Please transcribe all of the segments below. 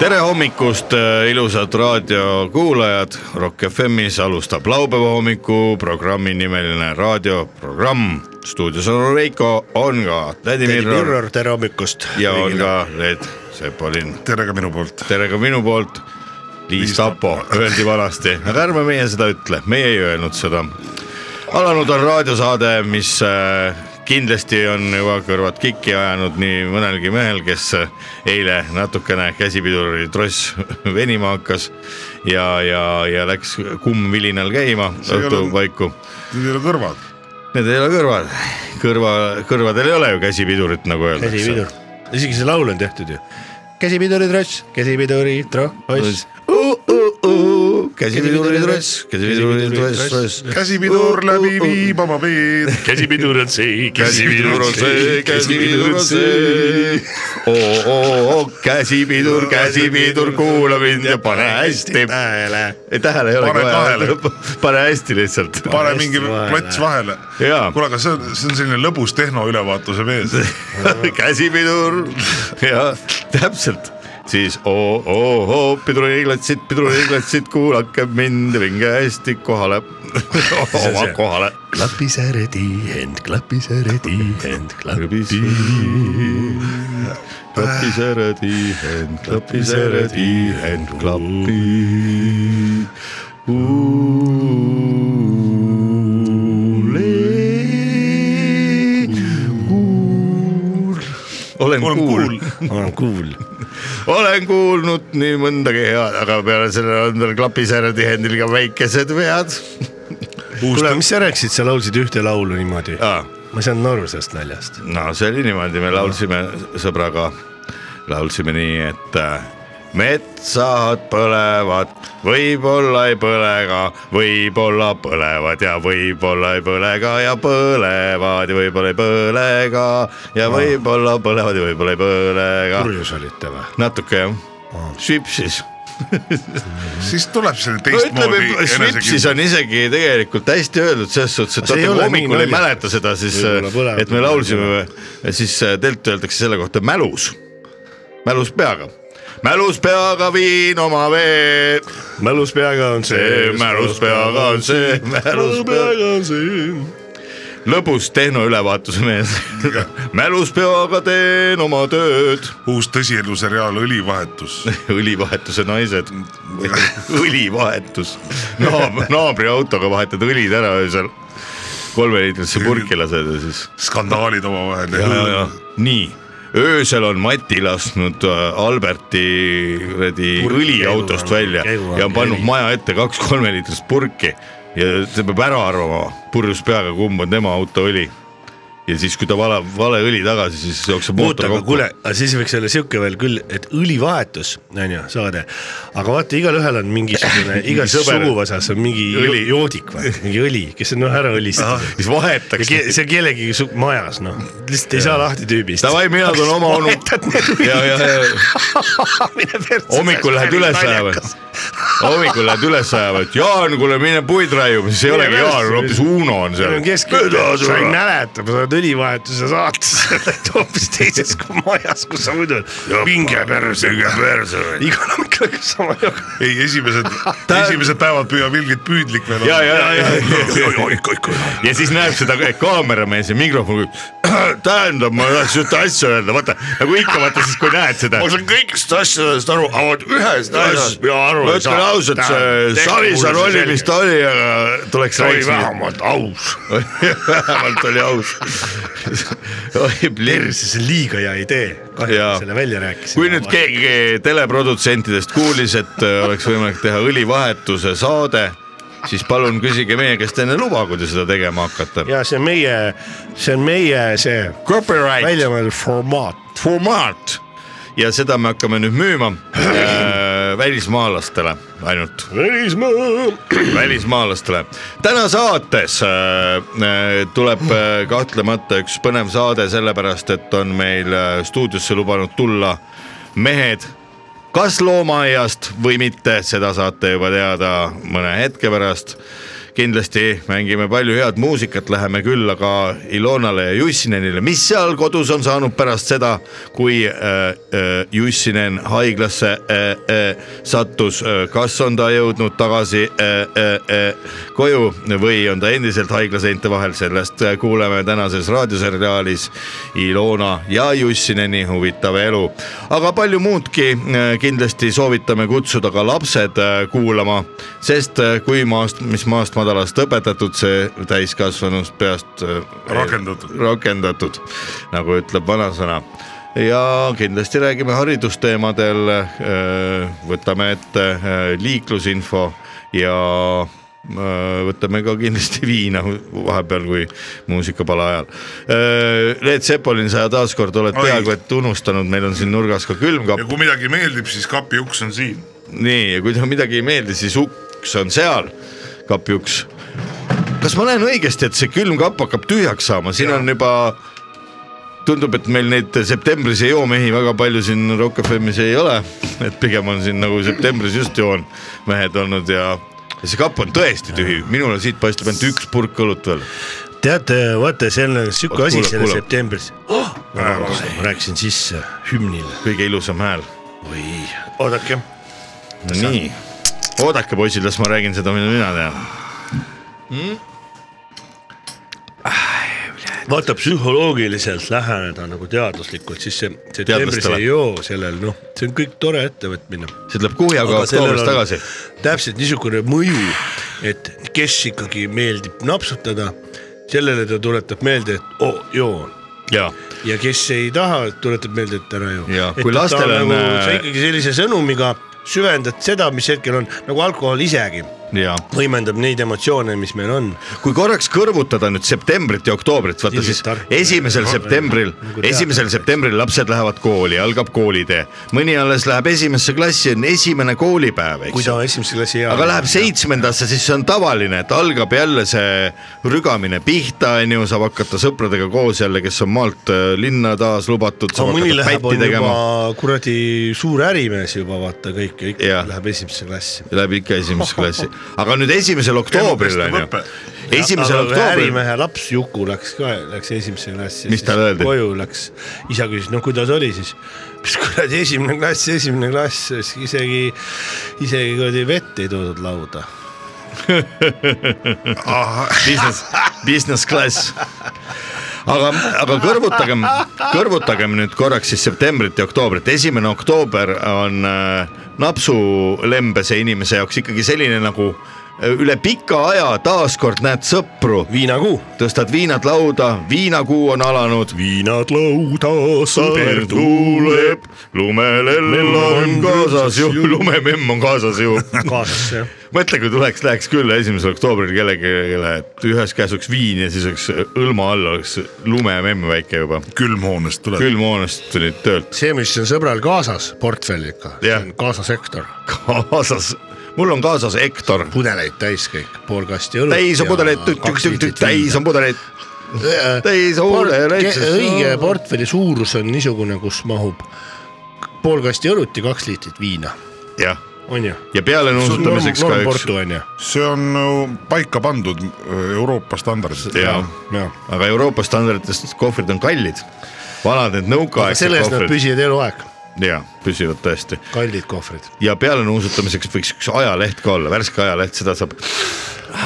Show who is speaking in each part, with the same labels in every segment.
Speaker 1: tere hommikust , äh, ilusad raadiokuulajad , Rock FM-is alustab laupäeva hommiku programmi nimeline raadioprogramm . stuudios on Reiko , on ka Tädi Mirror
Speaker 2: Mirror , tere hommikust .
Speaker 1: ja on ka Reet Sepolin .
Speaker 2: tere ka minu poolt .
Speaker 1: tere ka minu poolt . Liis Tapo öeldi vanasti , aga ärme meie seda ütle , meie ei öelnud seda . alanud on raadiosaade , mis äh, kindlasti on juba kõrvad kikki ajanud nii mõnelgi mehel , kes äh, eile natukene käsipiduri tross venima hakkas ja , ja , ja läks kumm vilinal käima
Speaker 2: See ei ole-
Speaker 1: õhtupaiku .
Speaker 2: Need ei ole kõrvad .
Speaker 1: Need ei ole kõrvad , kõrva , kõrvadel ei ole ju käsipidurit , nagu öeldakse .
Speaker 2: käsipidur , isegi see laul on tehtud ju . käsipiduri tross , käsipiduri tross .
Speaker 1: käsipiduri tross , käsipiduri tross , tross .
Speaker 3: käsipidur läbi viib oma veed .
Speaker 2: käsipidur on see ,
Speaker 1: käsipidur on see , käsipidur on see . oo , oo , oo , käsipidur , käsipidur , kuula mind ja pane hästi .
Speaker 2: tähele .
Speaker 1: ei tähele ei olegi
Speaker 3: Pane
Speaker 1: vaja
Speaker 3: kahele. ,
Speaker 1: pane hästi lihtsalt .
Speaker 3: pane mingi
Speaker 2: hästi vahele.
Speaker 3: plats vahele .
Speaker 1: Jaa.
Speaker 3: kuule , aga see on , see on selline lõbus tehnoülevaatuse mees .
Speaker 1: käsipidur ja täpselt siis oo , oo , oo , pidurihiiglatsid , pidurihiiglatsid , kuulake mind , minge hästi kohale , oma kohale .
Speaker 2: klapis äredi end , klapis äredi end , klapis .
Speaker 1: klapis ära tihend , klapis ära tihend , klapi . olen
Speaker 3: Olen
Speaker 1: kuul ,
Speaker 2: olen kuul .
Speaker 1: olen kuulnud nii mõndagi head , aga peale selle on veel klapis ära tihendil ka väikesed vead .
Speaker 2: kuule , mis sa rääkisid , sa laulsid ühte laulu niimoodi .
Speaker 1: Aa.
Speaker 2: ma ei saanud aru sellest naljast .
Speaker 1: no see oli niimoodi , me laulsime sõbraga , laulsime nii , et äh, metsad põlevad , võib-olla ei põle ka , võib-olla põlevad ja võib-olla ei põle ka ja põlevad ja võib-olla ei põle ka ja võib-olla põlevad ja võib-olla ei põle ka .
Speaker 2: purjus olite või ?
Speaker 1: natuke jah , švipsis .
Speaker 3: siis tuleb selline
Speaker 1: no ütleme , švipsis
Speaker 3: teistmoodi .
Speaker 1: on isegi tegelikult hästi öeldud selles suhtes , et
Speaker 2: See
Speaker 1: vaata
Speaker 2: ei
Speaker 1: kui
Speaker 2: ole nii
Speaker 1: hommikul ei
Speaker 2: naljakas.
Speaker 1: mäleta seda , siis äh,
Speaker 2: Võib-olla põlev-
Speaker 1: et me laulsime , siis tegelikult öeldakse selle kohta mälus , mälus peaga mälus peaga viin oma vee ,
Speaker 2: mälus peaga on see
Speaker 1: see . mälus peaga on see , mälus
Speaker 2: mälus
Speaker 1: peaga ,
Speaker 2: peaga on see .
Speaker 1: lõbus tehnoülevaatuse mees . mälus peaga teen oma tööd ,
Speaker 3: uus tõsielu seriaal Õlivahetus .
Speaker 1: õlivahetuse naised , õlivahetus , naabri autoga vahetad õlid ära öösel , kolmeliitrisse purki lased ja siis
Speaker 3: skandaalid omavahel .
Speaker 1: nii , öösel on Mati lasknud äh, Alberti kuradi
Speaker 2: Purki
Speaker 1: õliautost
Speaker 2: käigu-
Speaker 1: välja
Speaker 2: käigu-
Speaker 1: ja on pannud
Speaker 2: käigu-
Speaker 1: maja ette kaks kolmeliitrist purki ja ta peab ära arvama purjus peaga , kumb on tema auto õli . ja siis , kui ta valab vale õli tagasi , siis jookseb
Speaker 2: oota ,
Speaker 1: mootor
Speaker 2: aga
Speaker 1: kokku
Speaker 2: kuule , aga siis võiks olla sihuke veel küll , et õlivahetus , onju , saade . aga vaata , igalühel on mingisugune , igas
Speaker 1: sõber.
Speaker 2: suguvõsas on mingi
Speaker 1: Õli.
Speaker 2: õli. joodik või mingi õli , kes on noh ära õlistatud .
Speaker 1: siis
Speaker 2: ja
Speaker 1: vahetaks
Speaker 2: ke, . see on kellegi su- majas , noh , lihtsalt ei saa lahti tüübist .
Speaker 1: Davai , mina tulen oma onu . ja , ja , ja hommikul lähed üles ajama . hommikul lähed üles ajama , et Jaan , kuule mine puid raiuma , siis ei
Speaker 2: Mine
Speaker 1: olegi Jaan ,
Speaker 2: üles.
Speaker 1: hoopis Uno on seal
Speaker 2: on . keskel , sa ei mäleta , ma saan õlivahetuse saates , sa oled hoopis teises kui majas , kus sa muidu oled . pinge perse , pinge perse . igal hommikul hakkab sama jooksul .
Speaker 3: ei , esimesed
Speaker 1: Ta- ,
Speaker 3: esimesed päevad püüab ilgelt püüdlik veel
Speaker 1: ja , ja , ja ,
Speaker 3: olla .
Speaker 1: ja , ja siis näeb seda eh, kaameramees ja mikrofon , tähendab , ma tahtsin ühte asja öelda , vaata nagu ikka , vaata siis , kui näed seda .
Speaker 4: ma saan kõigist asjadest aru , aga vot ühest asjast mina aru
Speaker 1: ma
Speaker 4: ei saa .
Speaker 1: ütlen ausalt , see Savisaar oli , mis ta oli , aga tuleks
Speaker 4: oli
Speaker 1: rääkida .
Speaker 4: vähemalt aus .
Speaker 1: vähemalt oli aus . oi , plirs .
Speaker 2: see on liiga hea idee , kahju ,
Speaker 1: Jaa.
Speaker 2: et selle välja rääkisin .
Speaker 1: kui nüüd keegi teleprodutsentidest kuulis , et äh, oleks võimalik teha õlivahetuse saade , siis palun küsige meie käest enne luba , kui te seda tegema hakkate .
Speaker 2: ja see on meie , see on meie see
Speaker 1: Copyright .
Speaker 2: väljamõeldud formaat .
Speaker 1: formaat ja seda me hakkame nüüd müüma äh, välismaalastele ainult
Speaker 2: välismaa .
Speaker 1: välismaalastele . täna saates äh, äh, tuleb äh, kahtlemata üks põnev saade , sellepärast et on meil äh, stuudiosse lubanud tulla mehed , kas loomaaiast või mitte , seda saate juba teada mõne hetke pärast kindlasti mängime palju head muusikat , läheme külla ka Ilonale ja Jussinenile , mis seal kodus on saanud pärast seda , kui äh, äh, Jussinen haiglasse äh, äh, sattus , kas on ta jõudnud tagasi äh, äh, äh, koju või on ta endiselt haiglaseinte vahel , sellest äh, kuuleme tänases raadioseriaalis Ilona ja Jussineni huvitav elu . aga palju muudki äh, kindlasti soovitame kutsuda ka lapsed äh, kuulama , sest äh, kui maast , mis maast madalast õpetatud , see täiskasvanust peast äh,
Speaker 3: Rakendatud.
Speaker 1: rakendatud , nagu ütleb vanasõna ja kindlasti räägime haridusteemadel , võtame ette äh, liiklusinfo ja äh, võtame ka kindlasti viina vahepeal , kui muusikapala ajal . Leet Sepolin , sa taaskord oled
Speaker 3: Oi.
Speaker 1: peaaegu et unustanud , meil on siin nurgas ka külmkapp
Speaker 3: ja . kui midagi meeldib , siis kapi uks on siin .
Speaker 1: nii , ja kui teile midagi ei meeldi , siis uks on seal , kapi uks . kas ma näen õigesti , et see külm kapp hakkab tühjaks saama , siin ja. on juba , tundub , et meil neid septembris ei joo mehi väga palju siin Rock FM-is ei ole , et pigem on siin nagu septembris just joon mehed olnud ja ja see kapp on tõesti tühi , minul on siit paistab ainult üks purk õlut veel .
Speaker 2: teate , vaata , seal on sihuke
Speaker 1: Oot,
Speaker 2: asi
Speaker 1: kuule,
Speaker 2: selle
Speaker 1: kuule.
Speaker 2: septembris oh, . ma rääkisin sisse hümnile .
Speaker 1: kõige ilusam hääl .
Speaker 2: oi ,
Speaker 4: oodake ,
Speaker 1: nii , oodake poisid , las ma räägin seda , mida mina tean .
Speaker 2: vaata psühholoogiliselt läheneda nagu teaduslikult , siis see septembris
Speaker 1: Teadlastele.
Speaker 2: ei joo sellel noh , see on kõik tore ettevõtmine .
Speaker 1: see tuleb kuhjaga oktoobris tagasi .
Speaker 2: täpselt niisugune mõju , et kes ikkagi meeldib napsutada , sellele ta tuletab meelde , et oo , joon
Speaker 1: jaa
Speaker 2: ja kes ei taha , tuletab meelde , et ära joo .
Speaker 1: Ja kui lastel on, äh,
Speaker 2: sa ikkagi sellise sõnumiga süvendad seda , mis hetkel on , nagu alkohol isegi
Speaker 1: jaa ,
Speaker 2: võimendab neid emotsioone , mis meil on .
Speaker 1: kui korraks kõrvutada nüüd septembrit ja oktoobrit , vaata siis
Speaker 2: Ilgelt tark. Nagu
Speaker 1: esimesel septembril , esimesel septembril lapsed lähevad kooli , algab koolitee . mõni alles läheb esimesse klassi , on esimene koolipäev ,
Speaker 2: kui
Speaker 1: eks ju
Speaker 2: ta esimesse klassi jääb .
Speaker 1: aga läheb . seitsmendasse , siis see on tavaline , et algab jälle see rügamine pihta , onju , saab hakata sõpradega koos jälle , kes on maalt äh, linna taas lubatud ,
Speaker 2: aga
Speaker 1: saab
Speaker 2: mõni
Speaker 1: hakata
Speaker 2: läheb ,
Speaker 1: pätti
Speaker 2: on
Speaker 1: tegema
Speaker 2: juba . kuradi suur ärimees juba vaata kõik ja ikka
Speaker 1: Jah.
Speaker 2: läheb esimesse klassi .
Speaker 1: Läheb ikka esimesse klassi , aga nüüd esimesel oktoobril
Speaker 3: Ema kestab
Speaker 1: onju
Speaker 3: õpe. ,
Speaker 1: esimesel oktoobril
Speaker 2: ärimehe laps Juku läks ka , läks esimesse klassi .
Speaker 1: Mis talle öeldi?
Speaker 2: koju läks , isa küsis , no kuidas oli siis . mis kuradi esimene klass , esimene klass , isegi , isegi kuradi vett ei toodud lauda .
Speaker 1: business , business class . aga , aga kõrvutagem , kõrvutagem nüüd korraks siis septembrit ja oktoobrit , esimene oktoober on äh, napsulembese inimese jaoks ikkagi selline nagu äh, üle pika aja taaskord näed sõpru ,
Speaker 2: viinakuu .
Speaker 1: tõstad viinad lauda , viinakuu on alanud .
Speaker 2: viinad lauda ,
Speaker 1: sõber tuuleb , lumelell on kaasas ju , lumememm on kaasas ju
Speaker 2: kaasas jah .
Speaker 1: mõtle , kui tuleks , läheks külla esimesel oktoobril kellelegi , et ühes käes oleks viin ja siis oleks õlma all oleks lumememm väike juba .
Speaker 3: külmhoonest tuleb .
Speaker 1: külmhoonest tulid töölt
Speaker 2: see , mis on sõbral kaasas , portfell ikka
Speaker 1: Jah. ,
Speaker 2: kaasasektor ,
Speaker 1: kaasas , mul on kaasas Hektor ,
Speaker 2: pudeleid täis kõik , pool kasti õlut .
Speaker 1: täis on pudeleid , täis on pudeleid , täis on pudeleid .
Speaker 2: õige . portfelli suurus on niisugune , kus mahub pool kasti õlut ja kaks liitrit viina ,
Speaker 1: jah ,
Speaker 2: on ju ?
Speaker 1: ja peale nuusutamiseks ka üks ,
Speaker 2: normportu on ju ?
Speaker 3: see on ju paika pandud öö, Euroopa standardid .
Speaker 1: jaa ,
Speaker 2: jah .
Speaker 1: aga Euroopa standarditest kohvrid on kallid , vanad need nõukaaegsed
Speaker 2: selle eest nad
Speaker 1: kohvrid ,
Speaker 2: püsivad eluaeg ,
Speaker 1: jaa , püsivad tõesti
Speaker 2: kallid kohvrid .
Speaker 1: ja peale nuusutamiseks võiks üks ajaleht ka olla , värske ajaleht , seda saab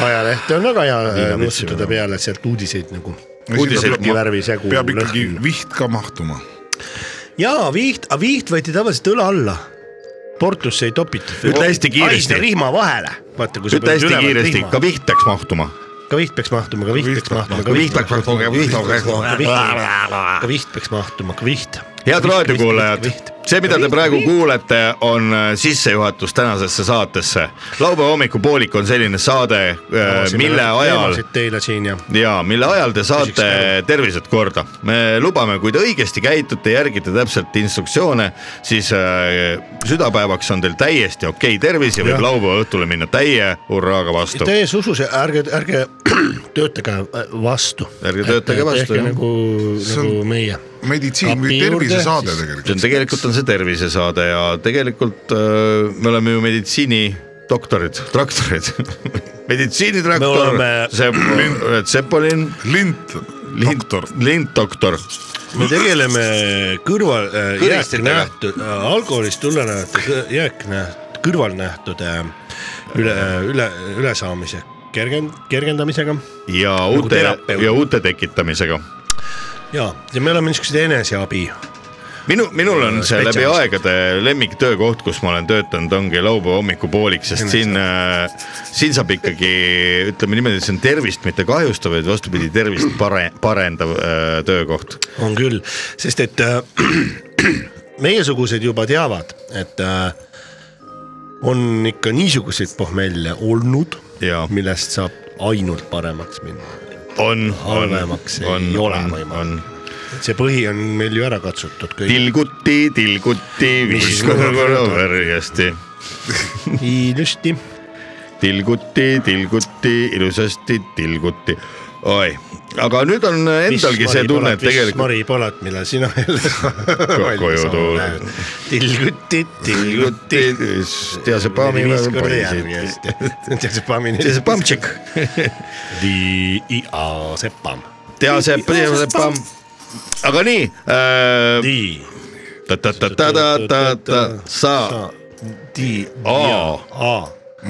Speaker 2: ajalehte on väga hea
Speaker 1: Viina
Speaker 2: äh, nuusutada
Speaker 1: võtsime.
Speaker 2: peale , sealt uudiseid nagu .
Speaker 1: Uudiseid
Speaker 2: ma- värvi segu
Speaker 3: peab ikkagi
Speaker 2: lõhn.
Speaker 3: viht ka mahtuma .
Speaker 2: jaa , viht , aga viht võeti tavaliselt õla alla . portusse ei topitud .
Speaker 1: Ütle hästi kiiresti.
Speaker 2: rihma vahele . vaata , kui sa
Speaker 1: ütle
Speaker 2: pead
Speaker 1: hästi
Speaker 2: ülevalt
Speaker 1: kiiresti ,
Speaker 2: rihma-
Speaker 1: ka viht peaks mahtuma .
Speaker 2: ka viht peaks mahtuma , ka viht peaks mahtuma , ka viht peaks mahtuma , ka viht peaks mahtuma , ka viht ,
Speaker 1: head raadiokuulajad , see , mida te praegu kuulete , on äh, sissejuhatus tänasesse saatesse . laupäeva hommikupoolik on selline saade , äh, mille ajal
Speaker 2: teemasid teile siin ja
Speaker 1: ja mille ajal te saate tervised korda . me lubame , kui te õigesti käitute , järgite täpselt instruktsioone , siis äh, südapäevaks on teil täiesti okei tervis ja võib
Speaker 2: Jah.
Speaker 1: laupäeva õhtule minna täie hurraaga vastu .
Speaker 2: täies usus ja ärge , ärge töötage vastu .
Speaker 1: Ärge töötage vastu, jah.
Speaker 2: tehke nagu ,
Speaker 3: See on-
Speaker 2: nagu meie .
Speaker 3: meditsiin või
Speaker 2: Kapi juurde,
Speaker 3: tervisesaade
Speaker 2: siis-
Speaker 1: see on
Speaker 3: tegelikult .
Speaker 1: tegelikult on see tervisesaade ja tegelikult äh, me oleme ju meditsiinidoktorid , traktorid . meditsiinitraktor ,
Speaker 2: Me oleme-
Speaker 1: Sepp , Sepolin ,
Speaker 3: lint , doktor ,
Speaker 1: lintdoktor ,
Speaker 2: me tegeleme kõrval äh, ,
Speaker 1: Kõristitega.
Speaker 2: jääknähtud , alkoholist tulenevate jääknäht- , kõrvalnähtude äh, üle , üle , ülesaamise kergen- , kergendamisega
Speaker 1: ja uute
Speaker 2: Nagu terapeut.
Speaker 1: ja uute tekitamisega
Speaker 2: ja , ja me oleme niisugused eneseabi .
Speaker 1: minu , minul on see
Speaker 2: Spetsialist.
Speaker 1: läbi aegade lemmiktöökoht , kus ma olen töötanud , ongi laupäeva hommikupoolik , sest siin , siin saab ikkagi , ütleme niimoodi , see on tervist mitte kahjustav , vaid vastupidi , tervist pare- , parendav äh, töökoht .
Speaker 2: on küll , sest et äh, meiesugused juba teavad , et äh, on ikka niisuguseid pohmelle olnud
Speaker 1: Jaa. ,
Speaker 2: millest saab ainult paremaks minna .
Speaker 1: on , on ,
Speaker 2: halvemaks ei
Speaker 1: on ,
Speaker 2: ole
Speaker 1: on , on
Speaker 2: võimalik .. see põhi on meil ju ära katsutud kõik .
Speaker 1: tilguti , tilguti ,
Speaker 2: Mis
Speaker 1: viskame
Speaker 2: mõõdad?
Speaker 1: korra värjesti .
Speaker 2: ilusti ,
Speaker 1: tilguti , tilguti , ilusasti tilguti . oi , aga nüüd on endalgi see tunne , et tegelikult .
Speaker 2: Mari Polat , mille sina jälle
Speaker 1: koju tuul- .
Speaker 2: tilguti , tilguti .
Speaker 1: tea see paami .
Speaker 2: viis korda järjest . tea see paami .
Speaker 1: see pammtšik .
Speaker 2: Di- , a , see pamm .
Speaker 1: tea see , see pamm . aga nii äh, .
Speaker 2: Di ,
Speaker 1: ta-ta-ta-ta-ta-ta-ta , sa ,
Speaker 2: di ,
Speaker 1: a ,
Speaker 2: a ,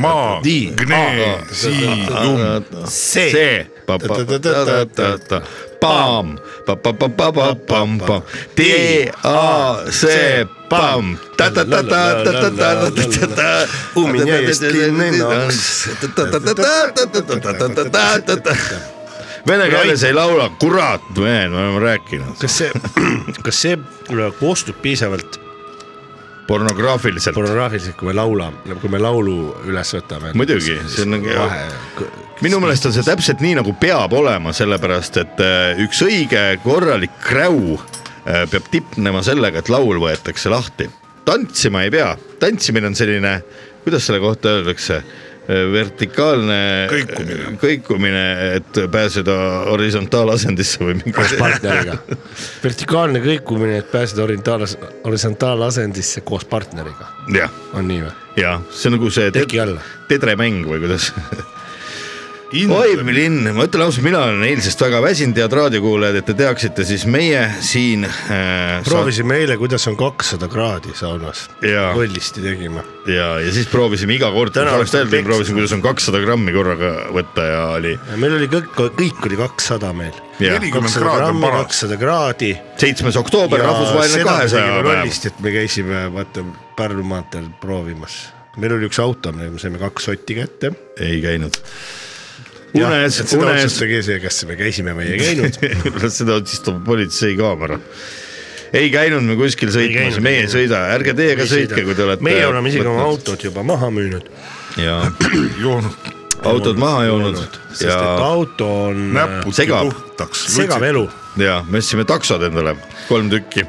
Speaker 3: maa ,
Speaker 2: Di-
Speaker 3: gnee , sii , um ,
Speaker 2: see .
Speaker 1: see . Pamm , pa-pa-pa-pa-pa-pamm , tee , a , see , pamm , ta-ta-ta-ta-ta-ta-ta-ta-ta .
Speaker 2: U mine jest kinni naks.
Speaker 1: Vene keeles ei laula , kurat , me oleme rääkinud
Speaker 2: kas see , kas see äh, koostub piisavalt
Speaker 1: pornograafiliselt .
Speaker 2: pornograafiliselt , kui me laulame , kui me laulu üles võtame ?
Speaker 1: Muidugi, see on nagu-
Speaker 2: vahe .
Speaker 1: minu meelest on see täpselt nii , nagu peab olema , sellepärast et äh, üks õige korralik kräu äh, peab tipnema sellega , et laul võetakse lahti . tantsima ei pea , tantsimine on selline , kuidas selle kohta öeldakse , vertikaalne kõikumine, kõikumine , et pääseda horisontaalasendisse või mingi .
Speaker 2: partneriga , vertikaalne kõikumine , et pääseda orientaalas- , horisontaalasendisse koos partneriga ,
Speaker 1: jah ,
Speaker 2: on nii või ?
Speaker 1: ja see on nagu see ted-
Speaker 2: teki alla .
Speaker 1: tedremäng või kuidas ? oi , linn , ma ütlen ausalt , mina olen eilsest väga väsinud , head raadiokuulajad , et te teaksite , siis meie siin äh, .
Speaker 2: proovisime eile , kuidas on kakssada kraadi saunas .
Speaker 1: Jaa.
Speaker 2: võllisti tegime .
Speaker 1: ja , ja siis proovisime iga kord , kui
Speaker 2: Täna
Speaker 1: oleks
Speaker 2: õhtul
Speaker 1: öeldud ,
Speaker 2: peksime.
Speaker 1: proovisime , kuidas on kakssada grammi korraga võtta ja oli
Speaker 2: meil oli kõik , kõik oli kakssada meil .
Speaker 1: Jah.
Speaker 3: nelikümmend kraadi on paras .
Speaker 2: kakssada kraadi
Speaker 1: seitsmes oktoober ,
Speaker 2: Ja
Speaker 1: rahvusvaheline
Speaker 2: seda me
Speaker 1: kahesaja
Speaker 2: tegime
Speaker 1: päev .
Speaker 2: rollist , et me käisime vaata Pärnu maanteel proovimas , meil oli üks auto , me saime kaks sotti kätte .
Speaker 1: ei käinud . unes ,
Speaker 2: seda
Speaker 1: unes ,
Speaker 2: otsustage ise , kas me käisime või ei käinud .
Speaker 1: seda otsustab politseikaamera . ei käinud me kuskil sõitmas ,
Speaker 2: käinud.
Speaker 1: meie ei sõida , ärge teie ka sõitke , kui te olete .
Speaker 2: meie oleme isegi oma . autod juba maha müünud ,
Speaker 1: jaa ,
Speaker 3: joonud
Speaker 1: autod maha joonud
Speaker 2: sest
Speaker 1: ja ,
Speaker 2: et auto on
Speaker 3: näpud
Speaker 1: Segab.
Speaker 3: puhtaks .
Speaker 2: segav elu .
Speaker 1: ja me ostsime taksod endale , kolm tükki ,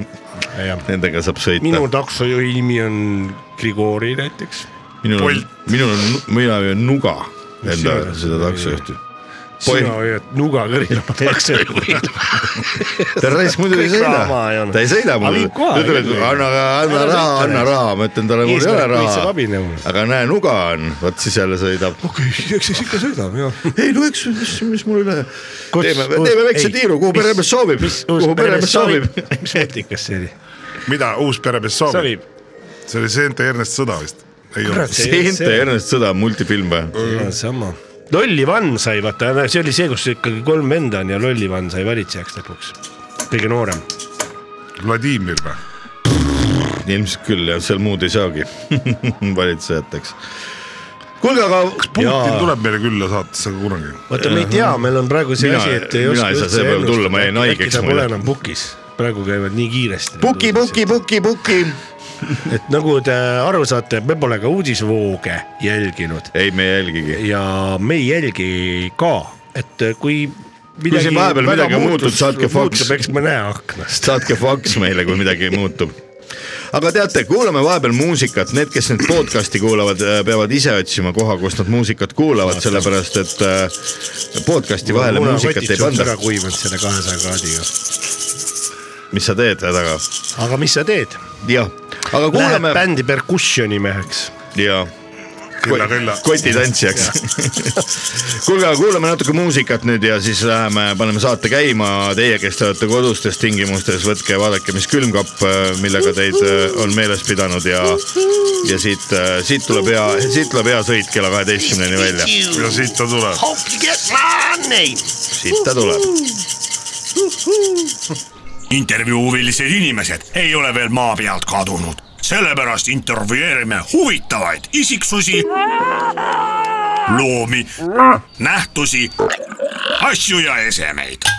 Speaker 1: nendega saab sõita .
Speaker 2: minu taksojuhi nimi on Grigori näiteks ,
Speaker 1: minul on
Speaker 3: Bolt. ,
Speaker 1: minul on , mina hoian nuga enda
Speaker 2: Sina-
Speaker 1: seda taksojuhti .
Speaker 2: sina hoiad nuga kõrgel oma taksojuhil .
Speaker 1: ta raisk muidu ei
Speaker 2: Kõik
Speaker 1: sõida
Speaker 2: raha ei olnud.
Speaker 1: ta ei sõida
Speaker 2: Aga
Speaker 1: mul ,
Speaker 2: viib kohale
Speaker 1: ta ütleb ,
Speaker 2: küll.
Speaker 1: anna , anna raha ,
Speaker 2: Ära sõita
Speaker 1: anna
Speaker 2: näiteks.
Speaker 1: raha , ma ütlen talle , mul ei ole
Speaker 2: Eesmärk lihtsalt
Speaker 1: raha
Speaker 2: abinõu. .
Speaker 1: aga näe , nuga on , vot siis jälle sõidab .
Speaker 2: okei , eks siis ikka sõidame jah .
Speaker 1: ei no eks , mis , mis mul üle .
Speaker 2: Kus-
Speaker 1: teeme ,
Speaker 2: kus-
Speaker 1: teeme väikse
Speaker 2: ei,
Speaker 1: tiiru , kuhu
Speaker 2: mis-
Speaker 1: peremees soovib , kuhu peremees soovib .
Speaker 2: mis mõttekas see oli ?
Speaker 3: mida uus peremees soovib ? see oli Seente Ernest Sõda vist . ei
Speaker 2: Kurat,
Speaker 3: olnud .
Speaker 2: see- Mm.
Speaker 1: Seente ja Ernest Sõda multifilm või ?
Speaker 2: Ja, sama . Lolli Van sai vaata , see oli see , kus ikkagi kolm venda on ja Lolli Van sai valitsejaks lõpuks , kõige noorem .
Speaker 3: Vladimir või ?
Speaker 1: ilmselt küll jah , seal muud ei saagi valitsejateks . kuulge , aga kas
Speaker 3: Putin
Speaker 2: Jaa.
Speaker 3: tuleb meile külla saatesse kunagi .
Speaker 2: vaata , me ei tea , meil on praegu see
Speaker 1: Mina-
Speaker 2: asi , et ei
Speaker 1: mina
Speaker 2: oska
Speaker 1: ei saa see päev tulla, ma jäin haigeks
Speaker 2: äkki ta
Speaker 1: muide.
Speaker 2: pole enam pukis , praegu käivad nii kiiresti .
Speaker 4: puki , puki , puki , puki .
Speaker 2: et nagu te aru saate , me pole ka uudisvooge jälginud
Speaker 1: ei , me ei jälgigi .
Speaker 2: ja me ei jälgi ka , et kui .
Speaker 1: siin vahepeal midagi muutub, saatke faks.
Speaker 2: eks me näe aknast .
Speaker 1: saatke faks meile , kui midagi muutub . aga teate , kuulame vahepeal muusikat , need , kes nüüd podcast'i kuulavad , peavad ise otsima koha , kust nad muusikat kuulavad , sellepärast et äh, podcast'i vahele muusikat ei
Speaker 2: ära
Speaker 1: panda .
Speaker 2: kuivanud selle kahesaja kraadiga .
Speaker 1: mis sa teed hädaga ?
Speaker 2: aga mis sa teed ?
Speaker 1: jah , aga
Speaker 2: Läheb
Speaker 1: kuulame
Speaker 2: bändi perkussiooni meheks .
Speaker 1: ja
Speaker 3: Kõlla, kõlla.
Speaker 1: kotitantsijaks . kuulge , aga kuulame natuke muusikat nüüd ja siis läheme , paneme saate käima . Teie , kes te olete kodustes tingimustes , võtke ja vaadake , mis külmkapp , millega teid äh, on meeles pidanud ja , ja siit , siit tuleb hea , siit tuleb hea sõit kella kaheteistkümneni välja .
Speaker 3: ja siit ta tuleb .
Speaker 1: siit ta tuleb .
Speaker 5: intervjuuvilised inimesed ei ole veel maa pealt kadunud , sellepärast intervjueerime huvitavaid isiksusi , loomi , nähtusi , asju ja esemeid .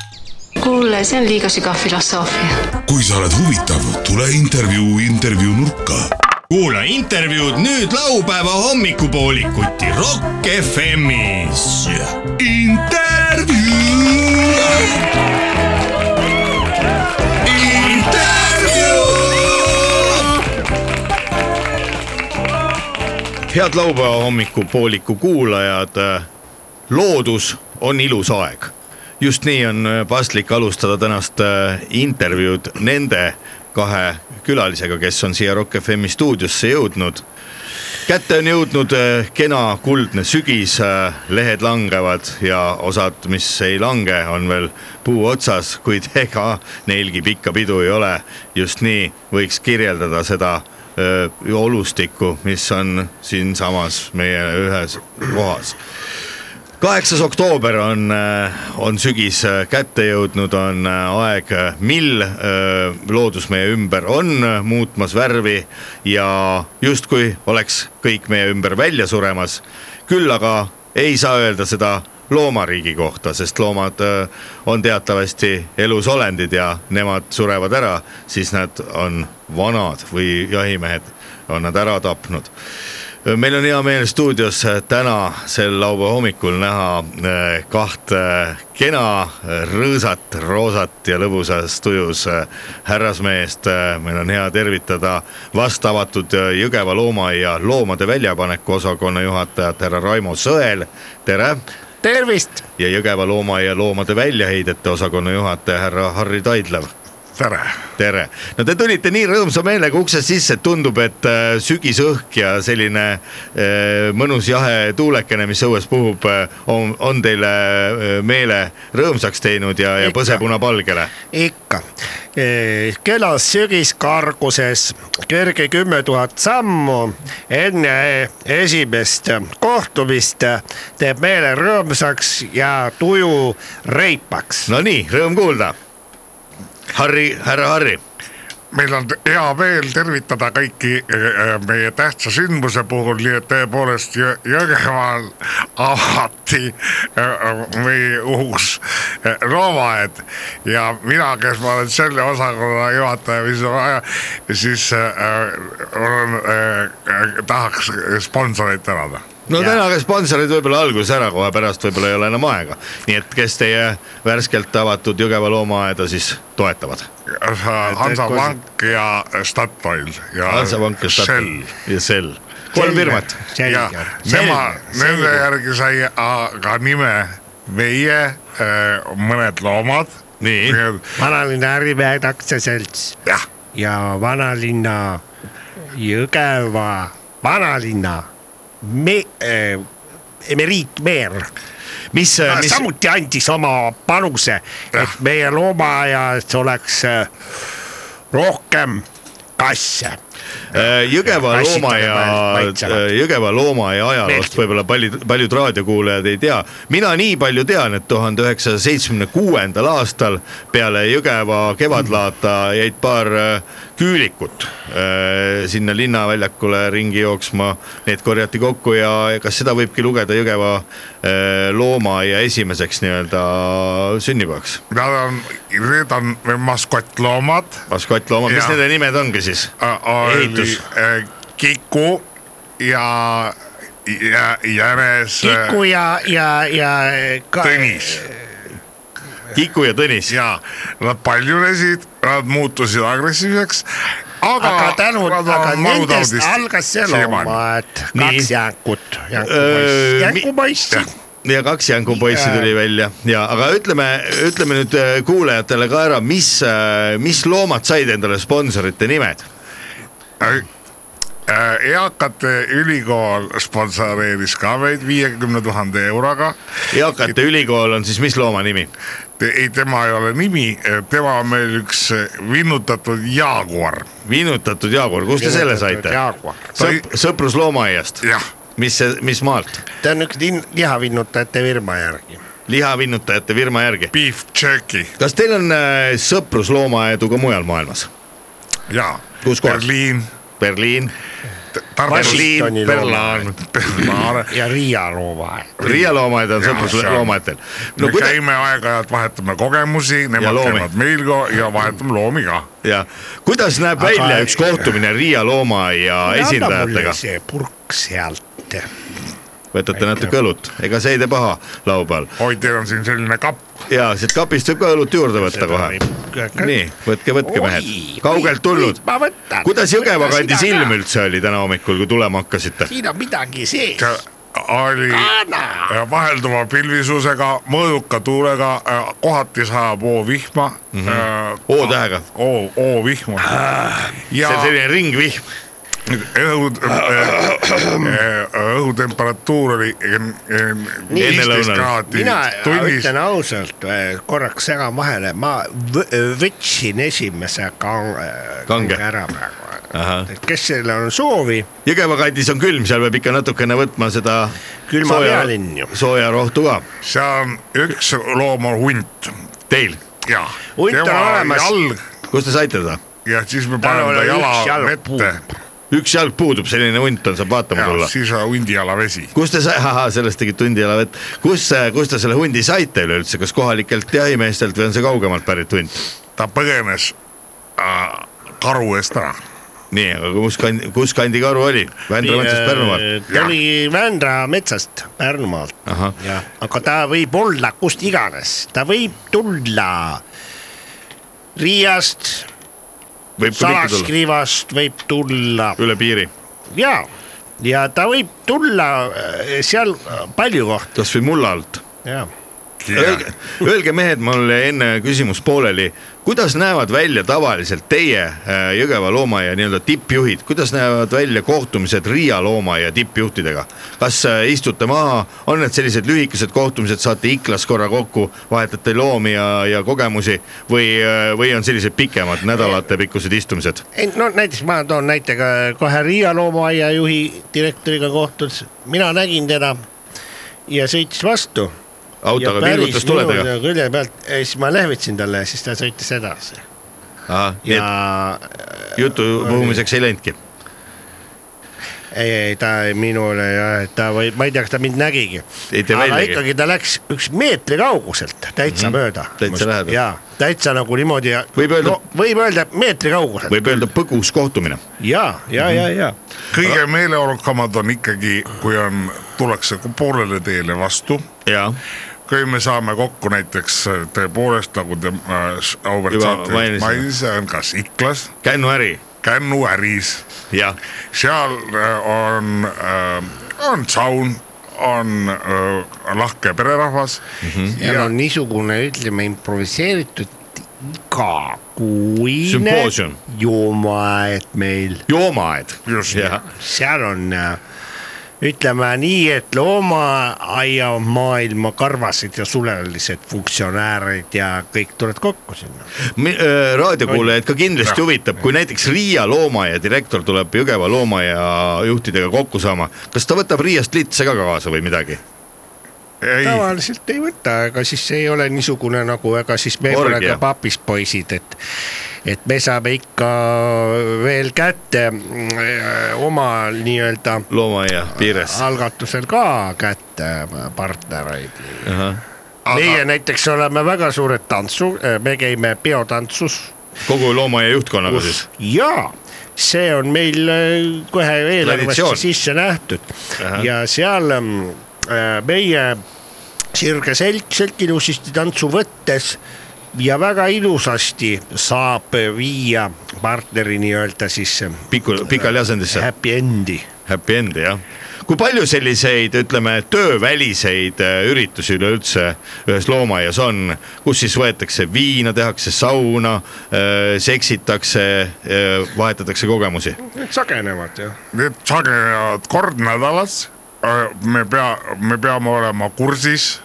Speaker 6: kuule , see on liiga sügav filosoofia .
Speaker 7: kui sa oled huvitav , tule intervjuu intervjuu nurka
Speaker 5: kuula intervjuud nüüd laupäeva hommikupoolikuti Rock FM-is .
Speaker 1: head laupäeva hommikupooliku kuulajad . loodus on ilus aeg . just nii on äh, paslik alustada tänast äh, intervjuud nende kahe külalisega , kes on siia Rock FM-i stuudiosse jõudnud . kätte on jõudnud äh, kena kuldne sügis , lehed langevad ja osad , mis ei lange , on veel puu otsas , kuid ega neilgi pikka pidu ei ole . just nii võiks kirjeldada seda äh, olustikku , mis on siinsamas meie ühes kohas kaheksas oktoober on , on sügis äh, kätte jõudnud , on äh, aeg , mil öö, loodus meie ümber on äh, muutmas värvi ja justkui oleks kõik meie ümber välja suremas . küll aga ei saa öelda seda loomariigi kohta , sest loomad öö, on teatavasti elusolendid ja nemad surevad ära , siis nad on vanad või jahimehed on nad ära tapnud meil on hea meel stuudios täna sel laupäeva hommikul näha eh, kahte kena eh, rõõsat , roosat ja lõbusas tujus eh, härrasmeest . meil on hea tervitada vast avatud eh, Jõgeva loomaaia loomade väljapaneku osakonna juhatajat härra Raimo Sõel , tere .
Speaker 2: tervist .
Speaker 1: ja Jõgeva loomaaia loomade väljaheidete osakonna juhataja härra Harri Taidlev
Speaker 3: tere .
Speaker 1: tere , no te tulite nii rõõmsa meelega uksest sisse , et tundub , et äh, sügisõhk ja selline äh, mõnus jahe tuulekene , mis õues puhub , on , on teile äh, meele rõõmsaks teinud ja , ja
Speaker 2: Ikka.
Speaker 1: põsepuna palgele .
Speaker 2: ikka . kelas sügiskarguses kerge kümme tuhat sammu enne esimest kohtumist teeb meele rõõmsaks ja tuju reipaks .
Speaker 1: Nonii , rõõm kuulda . Harri , härra Harri ,
Speaker 3: meil on hea meel tervitada kõiki äh, äh, meie tähtsa sündmuse puhul , nii et tõepoolest Jõ- Jõgeval avati äh, äh, meie uus äh, loomaaed ja mina , kes ma olen selle osakonna juhataja , mis on vaja , siis äh, olen äh, , tahaks sponsoreid tänada .
Speaker 1: no tänage sponsorid võib-olla alguses ära , kohe pärast võib-olla ei ole enam aega . nii et kes teie värskelt avatud Jõgeva loomaaeda siis toetavad ?
Speaker 3: Hansapank ja Statoil ja
Speaker 1: Hansapank ja Statoil
Speaker 3: Shell
Speaker 1: ja Shell , kolm firmat .
Speaker 3: ja tema , nende järgi sai a- ka nime meie äh, mõned loomad .
Speaker 1: Nii. .
Speaker 2: vanalinna Ärimehed aktsiaselts
Speaker 3: jah ,
Speaker 2: ja vanalinna Jõgeva vanalinna me, äh, emeriitmeer
Speaker 1: mis ,
Speaker 2: mis...
Speaker 1: mis ,
Speaker 2: samuti andis oma panuse , et meie loomaaias oleks äh, rohkem kasse .
Speaker 1: Jõgeva
Speaker 2: Kassikas
Speaker 1: loomaaia
Speaker 2: päev- paitsavad. ,
Speaker 1: Jõgeva loomaaia ajaloost
Speaker 2: Meeldib.
Speaker 1: võib-olla paljud , paljud raadiokuulajad ei tea . mina nii palju tean , et tuhande üheksasaja seitsmekümne kuuendal aastal peale Jõgeva kevadlaata jäid paar äh, küülikut äh, sinna linnaväljakule ringi jooksma . Need korjati kokku ja ja kas seda võibki lugeda Jõgeva äh, loomaaia esimeseks nii-öelda sünnipäevaks ?
Speaker 3: Nad on , need on maskottloomad .
Speaker 1: maskottloomad , mis
Speaker 3: Jaa.
Speaker 1: nende nimed ongi siis ? Ehitus.
Speaker 3: äh, Kiku ja , ja jänes .
Speaker 2: Kiku ja , ja , ja ka... .
Speaker 3: Tõnis
Speaker 1: Kiku ja Tõnis .
Speaker 3: ja nad paljunesid , nad muutusid agressiivseks , aga .
Speaker 2: aga tänu , aga nendest algas see looma , et kaks
Speaker 1: Nii.
Speaker 2: jänkut ,
Speaker 1: Öö,
Speaker 2: jänkupoiss ,
Speaker 1: mi-
Speaker 2: jänkupoiss .
Speaker 1: ja kaks jänkupoissi
Speaker 2: Ja.
Speaker 1: tuli välja ja , aga ütleme , ütleme nüüd äh, kuulajatele ka ära , mis , mis loomad said endale sponsorite nimed ?
Speaker 3: Äh, eakate ülikool sponsoreeris ka meid viiekümne tuhande euroga .
Speaker 1: eakate ülikool on siis mis looma nimi ?
Speaker 3: ei , tema ei ole nimi , tema on meil üks vinnutatud jaaguar ,
Speaker 1: vinnutatud jaagur , kust te selle saite ? Sõp, sõprus loomaaiast ,
Speaker 3: jah ,
Speaker 1: mis , mis maalt ?
Speaker 2: ta on üks lin- lihavinnutajate firma järgi .
Speaker 1: lihavinnutajate firma järgi .
Speaker 3: beef jerky
Speaker 1: kas teil on äh, sõprus loomaaedu ka mujal maailmas ?
Speaker 3: ja
Speaker 1: Kus kohas?
Speaker 3: Berliin ,
Speaker 1: Berliin ,
Speaker 3: Tartu ,
Speaker 2: Washingtoni
Speaker 1: Berlaan ,
Speaker 3: Berlaan ,
Speaker 2: ja Riia loomaaed .
Speaker 1: Riia loomaaed on sõprus
Speaker 3: see on-
Speaker 1: loomaaedel .
Speaker 3: me käime aeg-ajalt , vahetame kogemusi ,
Speaker 1: Ja
Speaker 3: nemad
Speaker 1: loomi.
Speaker 3: käivad meil ka ja vahetame loomi ka
Speaker 1: ja kuidas näeb
Speaker 2: Aga-
Speaker 1: Aga... välja üks kohtumine Riia loomaaia esindajatega ?
Speaker 2: see purk sealt .
Speaker 1: võtate natuke õlut , ega see ei tee paha laupäeval
Speaker 3: oi , teil on siin selline kapp .
Speaker 1: ja siit kapist võib ka õlut juurde võtta kohe . nii , võtke , võtke mehed , kaugelt tulnud .
Speaker 2: ma võtan .
Speaker 1: kuidas Jõgeva kandi silm ? üldse oli täna hommikul , kui tulema hakkasite ?
Speaker 2: siin on midagi sees .
Speaker 3: oli
Speaker 2: Kana.
Speaker 3: äh, vahelduva pilvisusega , mõõduka tuulega , kohati sajab oovihma mm .
Speaker 1: Mhm.
Speaker 3: -hmm.
Speaker 1: O-tähega. .
Speaker 3: O , O-vihma . ja
Speaker 2: Ah.
Speaker 1: see on selline ringvihm ,
Speaker 3: õhu , äh, õhutemperatuur oli viisteist
Speaker 1: Ennelõunal.
Speaker 3: kraadi
Speaker 2: mina
Speaker 3: tunnis
Speaker 2: ütlen . noh. ausalt , korraks segan vahele , ma võ- võtsin esimese kang- äh,
Speaker 1: Kange.
Speaker 2: kange ära
Speaker 1: Ahah.
Speaker 2: praegu . et kes sellel on soovi ,
Speaker 1: Jõgeva kandis on külm , seal peab ikka natukene võtma seda
Speaker 2: Külma
Speaker 1: sooja
Speaker 2: pealinn ju. ,
Speaker 1: sooja rohtu ka .
Speaker 3: seal on üks loom on hunt
Speaker 1: Teil ,
Speaker 3: ja
Speaker 2: Hunt on olemas.
Speaker 3: jalg
Speaker 1: kust te saite seda ?
Speaker 3: ja siis me
Speaker 2: Tal
Speaker 3: paneme ta
Speaker 2: oli üks
Speaker 3: jala
Speaker 2: jalg
Speaker 3: vette
Speaker 1: üks jalg puudub , selline hunt on , saab vaatama
Speaker 3: ja
Speaker 1: tulla .
Speaker 3: siis on hundi jala vesi .
Speaker 1: kus te sai , ahah , sellest tegid tundi jalavett , kus , kus te selle hundi saite üleüldse , kas kohalikelt jahimeestelt või on see kaugemalt pärit hunt ?
Speaker 3: ta põgenes äh, karu eest ära
Speaker 1: nii , aga kus kandi , kus kandi karu oli ? Vändra metsast
Speaker 2: äh,
Speaker 1: Pärnumaalt .
Speaker 2: ta oli Vändra metsast Pärnumaalt
Speaker 1: Ahah. ,
Speaker 2: aga ta võib olla kust iganes , ta võib tulla Riiast ,
Speaker 1: võib ka mitte tulla ,
Speaker 2: Salaskriivast võib tulla
Speaker 1: üle piiri ,
Speaker 2: ja , ja ta võib tulla äh, seal äh, palju kohti
Speaker 1: kasvõi mulla alt .
Speaker 2: ja
Speaker 1: Öelge , öelge mehed , mul jäi enne küsimus pooleli , kuidas näevad välja tavaliselt teie äh, Jõgeva loomaaia nii-öelda tippjuhid , kuidas näevad välja kohtumised Riia loomaaia tippjuhtidega ? kas äh, istute maha , on need sellised lühikesed kohtumised , saate Iklas korra kokku , vahetate loomi ja , ja kogemusi või , või on sellised pikemad nädalatepikkused istumised ?
Speaker 2: ei no näiteks ma toon näite ka kohe Riia loomaaia juhi direktoriga kohtus , mina nägin teda ja sõitis vastu .
Speaker 1: autoga virgutas tuledega ,
Speaker 2: nagu külje pealt , siis ma lehvitasin talle ja siis ta sõitis edasi
Speaker 1: nii
Speaker 2: ja
Speaker 1: et jutu puhumiseks ei läinudki .
Speaker 2: ei , ei ta ei- minule jah , et ta või ma ei tea , kas ta mind nägigi .
Speaker 1: Ei tee
Speaker 2: aga
Speaker 1: väljagi.
Speaker 2: ikkagi ta läks üks meetri kauguselt täitsa mööda .
Speaker 1: Täitsa lähedal.
Speaker 2: jaa , täitsa nagu niimoodi .
Speaker 1: Võib öelda-
Speaker 2: võib öelda et meetri kauguselt .
Speaker 1: võib öelda põgus kohtumine
Speaker 2: ja , ja , ja , ja
Speaker 3: kõige meeleolukamad on ikkagi , kui on , tullakse poolele teele vastu ,
Speaker 1: ja
Speaker 3: kui me saame kokku näiteks tõepoolest nagu te äh, s- auväärt
Speaker 1: Juba
Speaker 3: saate
Speaker 1: mainisime.
Speaker 3: mainis , on kas Iklas ,
Speaker 1: kännuäri
Speaker 3: Kännu äris ,
Speaker 1: ja
Speaker 3: seal äh, on äh, , on saun , on äh, lahke pererahvas mm .
Speaker 1: Mhm.
Speaker 3: -hmm.
Speaker 2: ja no niisugune , ütleme improviseeritud igakuine
Speaker 1: Sümpoosium.
Speaker 2: jumaaed meil ,
Speaker 1: joomaaed .
Speaker 3: Just nii.
Speaker 1: ja ,
Speaker 2: seal on äh, ütleme nii , et loomaaiamaailma karvasid ja sulelised funktsionäärid ja kõik tulevad kokku sinna .
Speaker 1: raadiokuulajaid äh, ka kindlasti huvitab , kui näiteks Riia loomaaia direktor tuleb Jõgeva loomaaia juhtidega kokku saama , kas ta võtab Riiast litse ka kaasa või midagi ?
Speaker 2: tavaliselt ei võta , ega siis ei ole niisugune nagu , ega siis me pole
Speaker 1: Orgia.
Speaker 2: ka papis poisid , et , et me saame ikka veel kätte mm, oma nii-öelda
Speaker 1: loomaaia piires .
Speaker 2: algatusel ka kätte partnereid . meie näiteks oleme väga suured tantsu , me käime peotantsus
Speaker 1: kogu loomaaia juhtkonnaga siis ?
Speaker 2: ja see on meil äh, kohe
Speaker 1: Traditsioon.
Speaker 2: eelarvesse sisse nähtud
Speaker 1: Ahah.
Speaker 2: ja seal ähm, äh, meie sirge selg , selg ilusasti tantsu võttes ja väga ilusasti saab viia partneri nii-öelda siis äh,
Speaker 1: piku , pikali asendisse ,
Speaker 2: happy end'i .
Speaker 1: happy end jah . kui palju selliseid , ütleme tööväliseid äh, üritusi üleüldse ühes loomaaias on , kus siis võetakse viina , tehakse sauna , seksitakse , vahetatakse kogemusi ?
Speaker 2: Need sagenevad ju .
Speaker 3: Need sagenevad kord nädalas . me pea , me peame olema kursis ,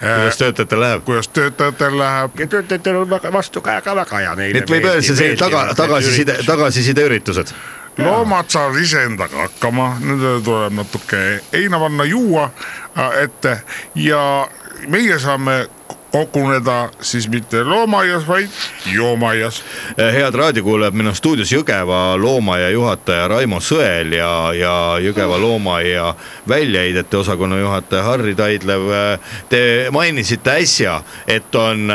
Speaker 1: kuidas töötajatel läheb ?
Speaker 3: kuidas töötajatel läheb .
Speaker 2: ja töötajatel on väga vastukaja ka väga hea neile .
Speaker 1: nii et võib öelda , see on selline taga , tagasiside , tagasisideüritused .
Speaker 3: loomad saavad iseendaga hakkama , nendele tuleb natuke heina panna , juua äh, ette ja meie saame koguneda siis mitte loomaaias , vaid joomaaias .
Speaker 1: Äh, head raadiokuulajad , meil on stuudios Jõgeva loomaaia juhataja Raimo Sõel ja , ja Jõgeva loomaaia väljaheidete osakonna juhataja Harri Taidlev . Te mainisite äsja , et on ,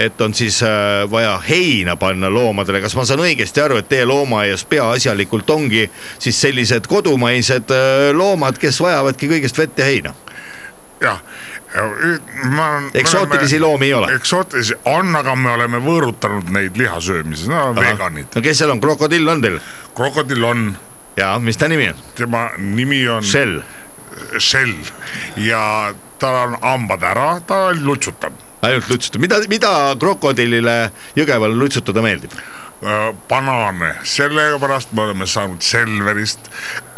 Speaker 1: et on siis äh, vaja heina panna loomadele , kas ma saan õigesti aru , et teie loomaaias peaasjalikult ongi siis sellised kodumaised äh, loomad , kes vajavadki kõigest vett ja heina ?
Speaker 3: jah , äh, ma .
Speaker 1: Eksootilisi loomi ei ole?
Speaker 3: eksootilisi on , aga me oleme võõrutanud neid lihasöömises , nad on veganid .
Speaker 1: no kes seal on , krokodill on teil ?
Speaker 3: krokodill on ,
Speaker 1: ja mis ta nimi on ?
Speaker 3: tema nimi on
Speaker 1: Shell .
Speaker 3: Shell ja tal on hambad ära , ta lutsutab ,
Speaker 1: ainult lutsutada , mida , mida krokodillile Jõgeval lutsutada meeldib ?
Speaker 3: Äh, banaane , sellepärast me oleme saanud Selverist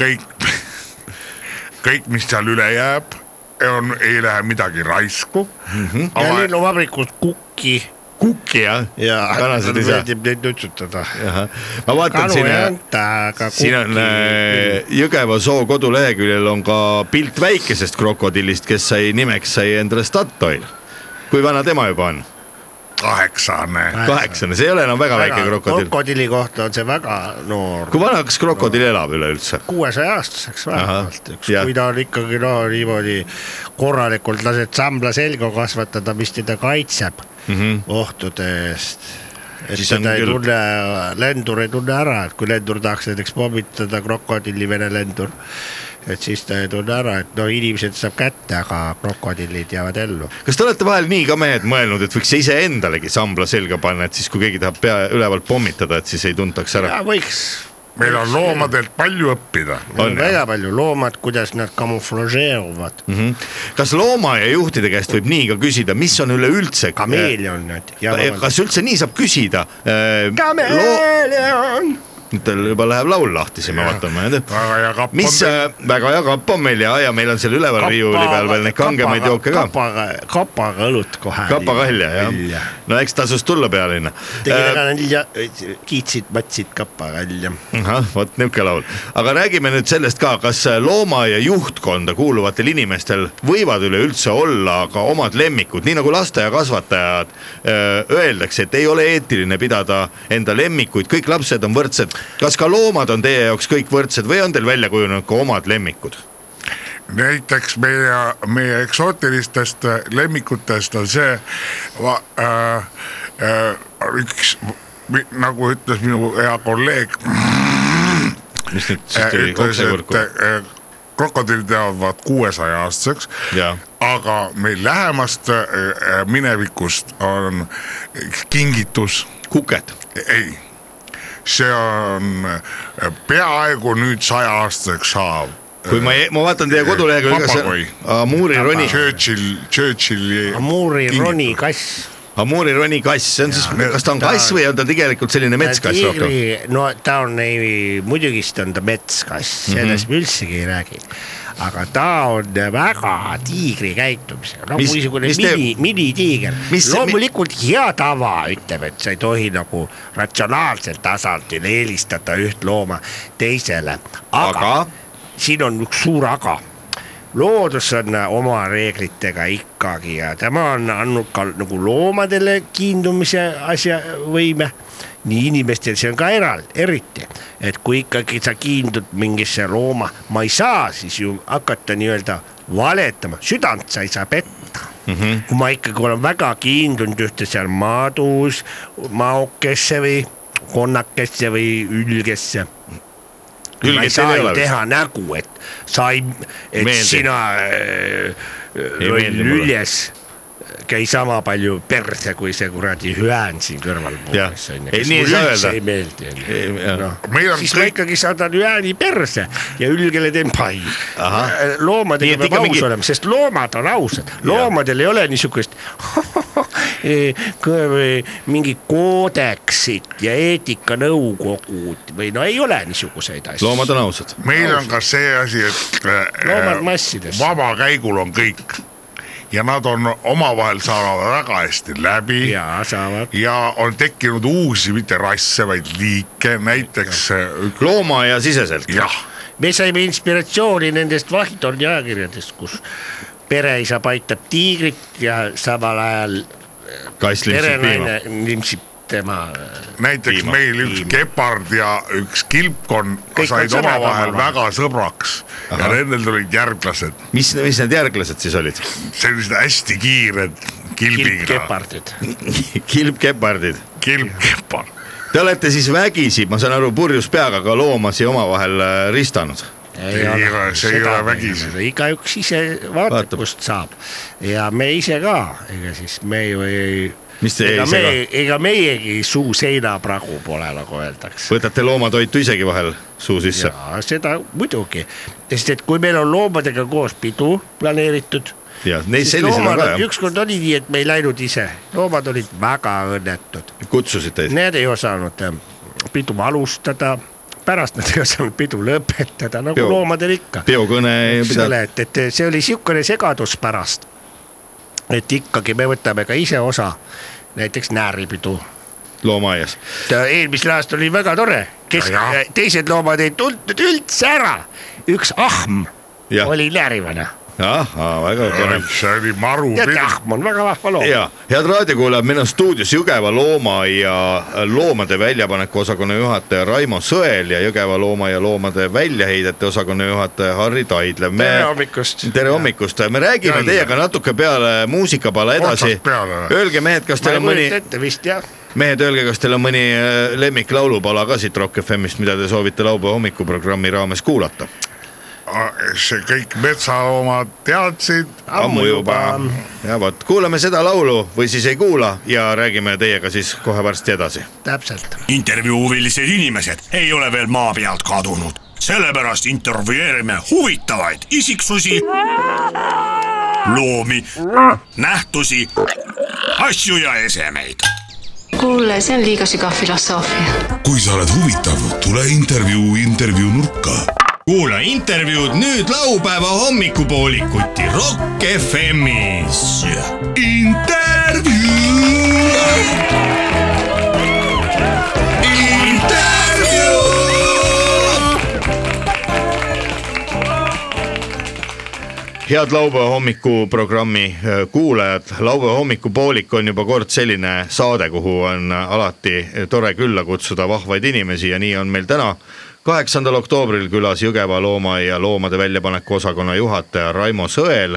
Speaker 3: kõik , kõik , mis seal üle jääb , on , ei lähe midagi raisku mm .
Speaker 1: Mhm.
Speaker 3: -hmm.
Speaker 2: ja linnuvabrikus Kukki
Speaker 1: kukki jah ?
Speaker 2: ja
Speaker 1: kanased ei saa .
Speaker 2: meeldib neid nutsutada .
Speaker 1: ma vaatan
Speaker 2: kanu
Speaker 1: siin
Speaker 2: ei , anta , aga Kukki .
Speaker 1: siin on äh, Jõgeva soo koduleheküljel on ka pilt väikesest krokodillist , kes sai nimeks , sai endale Statoil . kui vana tema juba on ?
Speaker 3: kaheksane ,
Speaker 2: Äh.
Speaker 1: kaheksane , see ei ole enam väga väike krokodill .
Speaker 2: krokodilli kohta on see väga noor ,
Speaker 1: kui vanaks krokodill elab üleüldse ?
Speaker 2: kuuesaja aastaseks vähemalt
Speaker 1: Ahah, ,
Speaker 2: eks ,
Speaker 1: jah.
Speaker 2: kui ta on ikkagi no niimoodi korralikult lased sambla selga kasvatada , mis teda kaitseb mm -hmm. ohtude eest . et
Speaker 1: Mhm. Siis
Speaker 2: siis
Speaker 1: on
Speaker 2: teda ei
Speaker 1: küll-
Speaker 2: küll... tunne , lendur ei tunne ära , et kui lendur tahaks näiteks pommitada krokodilli , Vene lendur , et siis ta ei tunne ära , et no inimesed saab kätte , aga krokodillid jäävad ellu .
Speaker 1: kas te olete vahel nii ka mehed mõelnud , et võiks iseendalegi sambla selga panna , et siis kui keegi tahab pea ülevalt pommitada , et siis ei tuntaks ära ?
Speaker 2: ja võiks
Speaker 3: meil on loomadelt palju õppida .
Speaker 2: on, on
Speaker 1: jah.
Speaker 2: väga palju loomad , kuidas nad kamuflažeeruvad mm , -hmm.
Speaker 1: Mhm. kas loomaaia juhtide käest võib nii ka küsida , mis on üleüldse ?
Speaker 2: kameelionid ja
Speaker 1: kas üldse nii saab küsida ?
Speaker 2: kameeleon .
Speaker 1: tal juba läheb laul lahti , siis me vaatame .
Speaker 3: väga hea kapp
Speaker 1: mis
Speaker 3: on .
Speaker 1: äh, väga hea kapp on meil ja , ja meil on seal üleval riiuli peal veel neid kangemaid jooke ka .
Speaker 2: kapaga , kapaga õlut kohe .
Speaker 1: kapakalja jah ,. Äh, no eks tasus tulla pealinna . Eh,
Speaker 2: tegin ära nalja , äh, kiitsid , matsid kapakalja .
Speaker 1: ahah , vot niuke laul , aga räägime nüüd sellest ka , kas loomaaia juhtkonda kuuluvatel inimestel võivad üleüldse olla ka omad lemmikud , nii nagu lasteaiakasvatajad öö, öeldakse , et ei ole eetiline pidada enda lemmikuid , kõik lapsed on võrdsed . kas ka loomad on teie jaoks kõik võrdsed või on teil välja kujunenud ka omad lemmikud ?
Speaker 3: näiteks meie , meie eksootilistest lemmikutest on see va, äh, äh, üks , nagu ütles minu hea kolleeg ,
Speaker 1: mis nüüd siis tuli
Speaker 3: ütles , et
Speaker 1: oksekurku ?
Speaker 3: äh, krokodillid jäävad kuuesaja aastaseks
Speaker 1: Jaa. .
Speaker 3: aga meil lähemast äh, äh, minevikust on kingitus ,
Speaker 1: kuked ,
Speaker 3: ei , see on äh, peaaegu nüüd saja aastaseks saav .
Speaker 1: kui ma , ma vaatan teie kodulehekülge , see
Speaker 3: äh, Papagoi.
Speaker 1: Amuuri roni ,
Speaker 3: Churchill , Churchilli .
Speaker 2: Amuuri roni kass ,
Speaker 1: Amuri roni kass , see on siis , kas ta on kass või on ta tegelikult selline metskass rohkem ?
Speaker 2: tiigri , no ta on ei , muidugi ta on ta metskass ,
Speaker 1: Mhm.
Speaker 2: sellest mm -hmm. me üldsegi ei räägi . aga ta on väga tiigri käitumisega , nagu
Speaker 1: Mis-
Speaker 2: niisugune
Speaker 1: mis teeb-
Speaker 2: mini , minitiiger .
Speaker 1: Mis-
Speaker 2: loomulikult hea tava ütleb , et sa ei tohi nagu ratsionaalsel tasandil eelistada üht looma teisele , aga,
Speaker 1: Aga?
Speaker 2: aga? siin on üks suur aga loodus on oma reeglitega ikkagi ja tema on andnud ka nagu loomadele kiindumise asja võime . nii inimestel , see on ka eral- , eriti , et kui ikkagi sa kiindud mingisse looma , ma ei saa siis ju hakata nii-öelda valetama , südant sa ei saa petta mm .
Speaker 1: Mhm.
Speaker 2: -hmm. kui ma ikkagi olen väga kiindunud ühte seal maadus , maokesse või konnakesse või ülgesse ma ei
Speaker 1: Ülget
Speaker 2: saa
Speaker 1: ei
Speaker 2: ju
Speaker 1: ole vist.
Speaker 2: teha nägu , et sa ei , et
Speaker 1: Meeldi.
Speaker 2: Meeldi. sina äh,
Speaker 1: Ei
Speaker 2: loll
Speaker 1: meeldi mulle.
Speaker 2: lüljes käi sama palju perse kui see kuradi hüään siin kõrval
Speaker 1: Jah.
Speaker 2: puuris onju ,
Speaker 1: Ei,
Speaker 2: kes
Speaker 1: nii ei
Speaker 2: mulle
Speaker 1: saa öelda.
Speaker 2: üldse ei meeldi
Speaker 1: Ei, jah.
Speaker 2: onju .
Speaker 3: Meil on
Speaker 2: siis ma
Speaker 3: kõik-
Speaker 2: ikkagi saadan hüääni perse ja ülgele teen pai Äh,
Speaker 1: Ahah. . Nii,
Speaker 2: loomadega
Speaker 1: et
Speaker 2: peab
Speaker 1: ikka
Speaker 2: aus
Speaker 1: mingi-
Speaker 2: mingi... olema , sest loomad on ausad , loomadel ei ole niisugust eh, kõ- mingi koodeksit ja eetikanõukogud või no ei ole niisuguseid asju .
Speaker 1: loomad on ausad .
Speaker 3: meil on ka see asi , et äh,
Speaker 2: Loomad
Speaker 3: äh,
Speaker 2: massides.
Speaker 3: vabakäigul on kõik ja nad on omavahel saanud väga hästi läbi
Speaker 2: ja saavad .
Speaker 3: ja on tekkinud uusi , mitte rasse , vaid liike , näiteks äh,
Speaker 1: loomaaia siseselt .
Speaker 3: jah ,
Speaker 2: me saime inspiratsiooni nendest Washingtoni ajakirjadest , kus pereisa paitab tiigrit ja samal ajal
Speaker 1: kass limpsib piima .
Speaker 2: perenaine limpsib tema .
Speaker 3: näiteks
Speaker 1: Piima.
Speaker 3: piima, meil üks piima. kepard ja üks kilpkonn
Speaker 2: Kõik on
Speaker 3: said
Speaker 2: sõbrad
Speaker 3: omavahel
Speaker 2: omavahel.
Speaker 3: väga sõbraks Aha. ja nendel tulid järglased ,
Speaker 1: mis , mis need järglased siis olid ?
Speaker 3: sellised hästi kiired kilbiga ,
Speaker 2: kilpkepardid .
Speaker 1: kilpkepardid .
Speaker 3: kilpkepard .
Speaker 1: Te olete siis vägisi , ma saan aru , purjus peaga ka loomasi omavahel äh, ristanud .
Speaker 3: Ei ole, see ei ole vägisi. .
Speaker 2: igaüks ise vaatab,
Speaker 1: Vaatab.
Speaker 2: vaatab , kust saab ja me ise ka , ega siis me ju ei .
Speaker 1: Mis te
Speaker 2: ega
Speaker 1: ise ka?
Speaker 2: me- ega meiegi suu seinapragu pole , nagu öeldakse .
Speaker 1: võtate loomatoitu isegi vahel suu sisse ?
Speaker 2: ja seda muidugi , sest et kui meil on loomadega koos pidu planeeritud .
Speaker 1: ja neid sellisel on ka jah ,
Speaker 2: ükskord oli nii , et me ei läinud ise , loomad olid väga õnnetud ,
Speaker 1: kutsusid teid .
Speaker 2: need ei osanud ähm, pidu alustada , pärast nad ei osanud pidu lõpetada , nagu
Speaker 1: Joo.
Speaker 2: Juh. loomadel ikka .
Speaker 1: peokõne ei pidanud .
Speaker 2: selle , et , et see oli sihukene segadus pärast , et ikkagi me võtame ka ise osa , näiteks nääripidu
Speaker 1: loomaaias .
Speaker 2: ta eelmisel aastal oli väga tore , kes
Speaker 3: Ja, ,
Speaker 2: teised loomad ei tundnud üldse ära , üks ahm
Speaker 1: Jah.
Speaker 2: ja. oli näärivana .
Speaker 1: ahhaa , väga tore .
Speaker 3: see oli maru
Speaker 2: teate ,
Speaker 3: pidu .
Speaker 2: ahm on väga vahva loom .
Speaker 1: ja head raadiokuulajad , meil on stuudios Jõgeva loomaaia loomade väljapaneku osakonna juhataja Raimo Sõel ja Jõgeva loomaaia loomade väljaheidete osakonna juhataja Harri Taidla .
Speaker 2: tere hommikust .
Speaker 1: tere hommikust , me räägime
Speaker 3: Jälle.
Speaker 1: teiega natuke peale muusikapala edasi
Speaker 3: Otsast peale või? .
Speaker 1: Öelge mehed , kas
Speaker 2: ma
Speaker 1: teil
Speaker 2: ei
Speaker 1: on mõni
Speaker 2: kujuta , ette vist jah ,
Speaker 1: mehed , öelge , kas teil on mõni äh, lemmiklaulupala ka siit Rock FM-ist , mida te soovite laupäeva hommikuprogrammi raames kuulata ?
Speaker 3: see kõik metsaloomad teadsid .
Speaker 1: ammu juba . ja vot , kuulame seda laulu või siis ei kuula ja räägime teiega siis kohe varsti edasi .
Speaker 2: täpselt .
Speaker 5: intervjuu huvilised inimesed ei ole veel maa pealt kadunud , sellepärast intervjueerime huvitavaid isiksusi , loomi , nähtusi , asju ja esemeid .
Speaker 6: kuule , see on liiga sügav filosoofia .
Speaker 7: kui sa oled huvitav , tule intervjuu Intervjuu nurka
Speaker 8: kuula intervjuud nüüd laupäeva hommikupoolikuti Rock FM-is .
Speaker 7: intervjuu .
Speaker 1: head laupäeva hommikuprogrammi äh, kuulajad , laupäeva hommikupoolik on juba kord selline saade , kuhu on äh, alati tore külla kutsuda vahvaid inimesi ja nii on meil täna kaheksandal oktoobril külas Jõgeva loomaaia loomade väljapaneku osakonna juhataja Raimo Sõel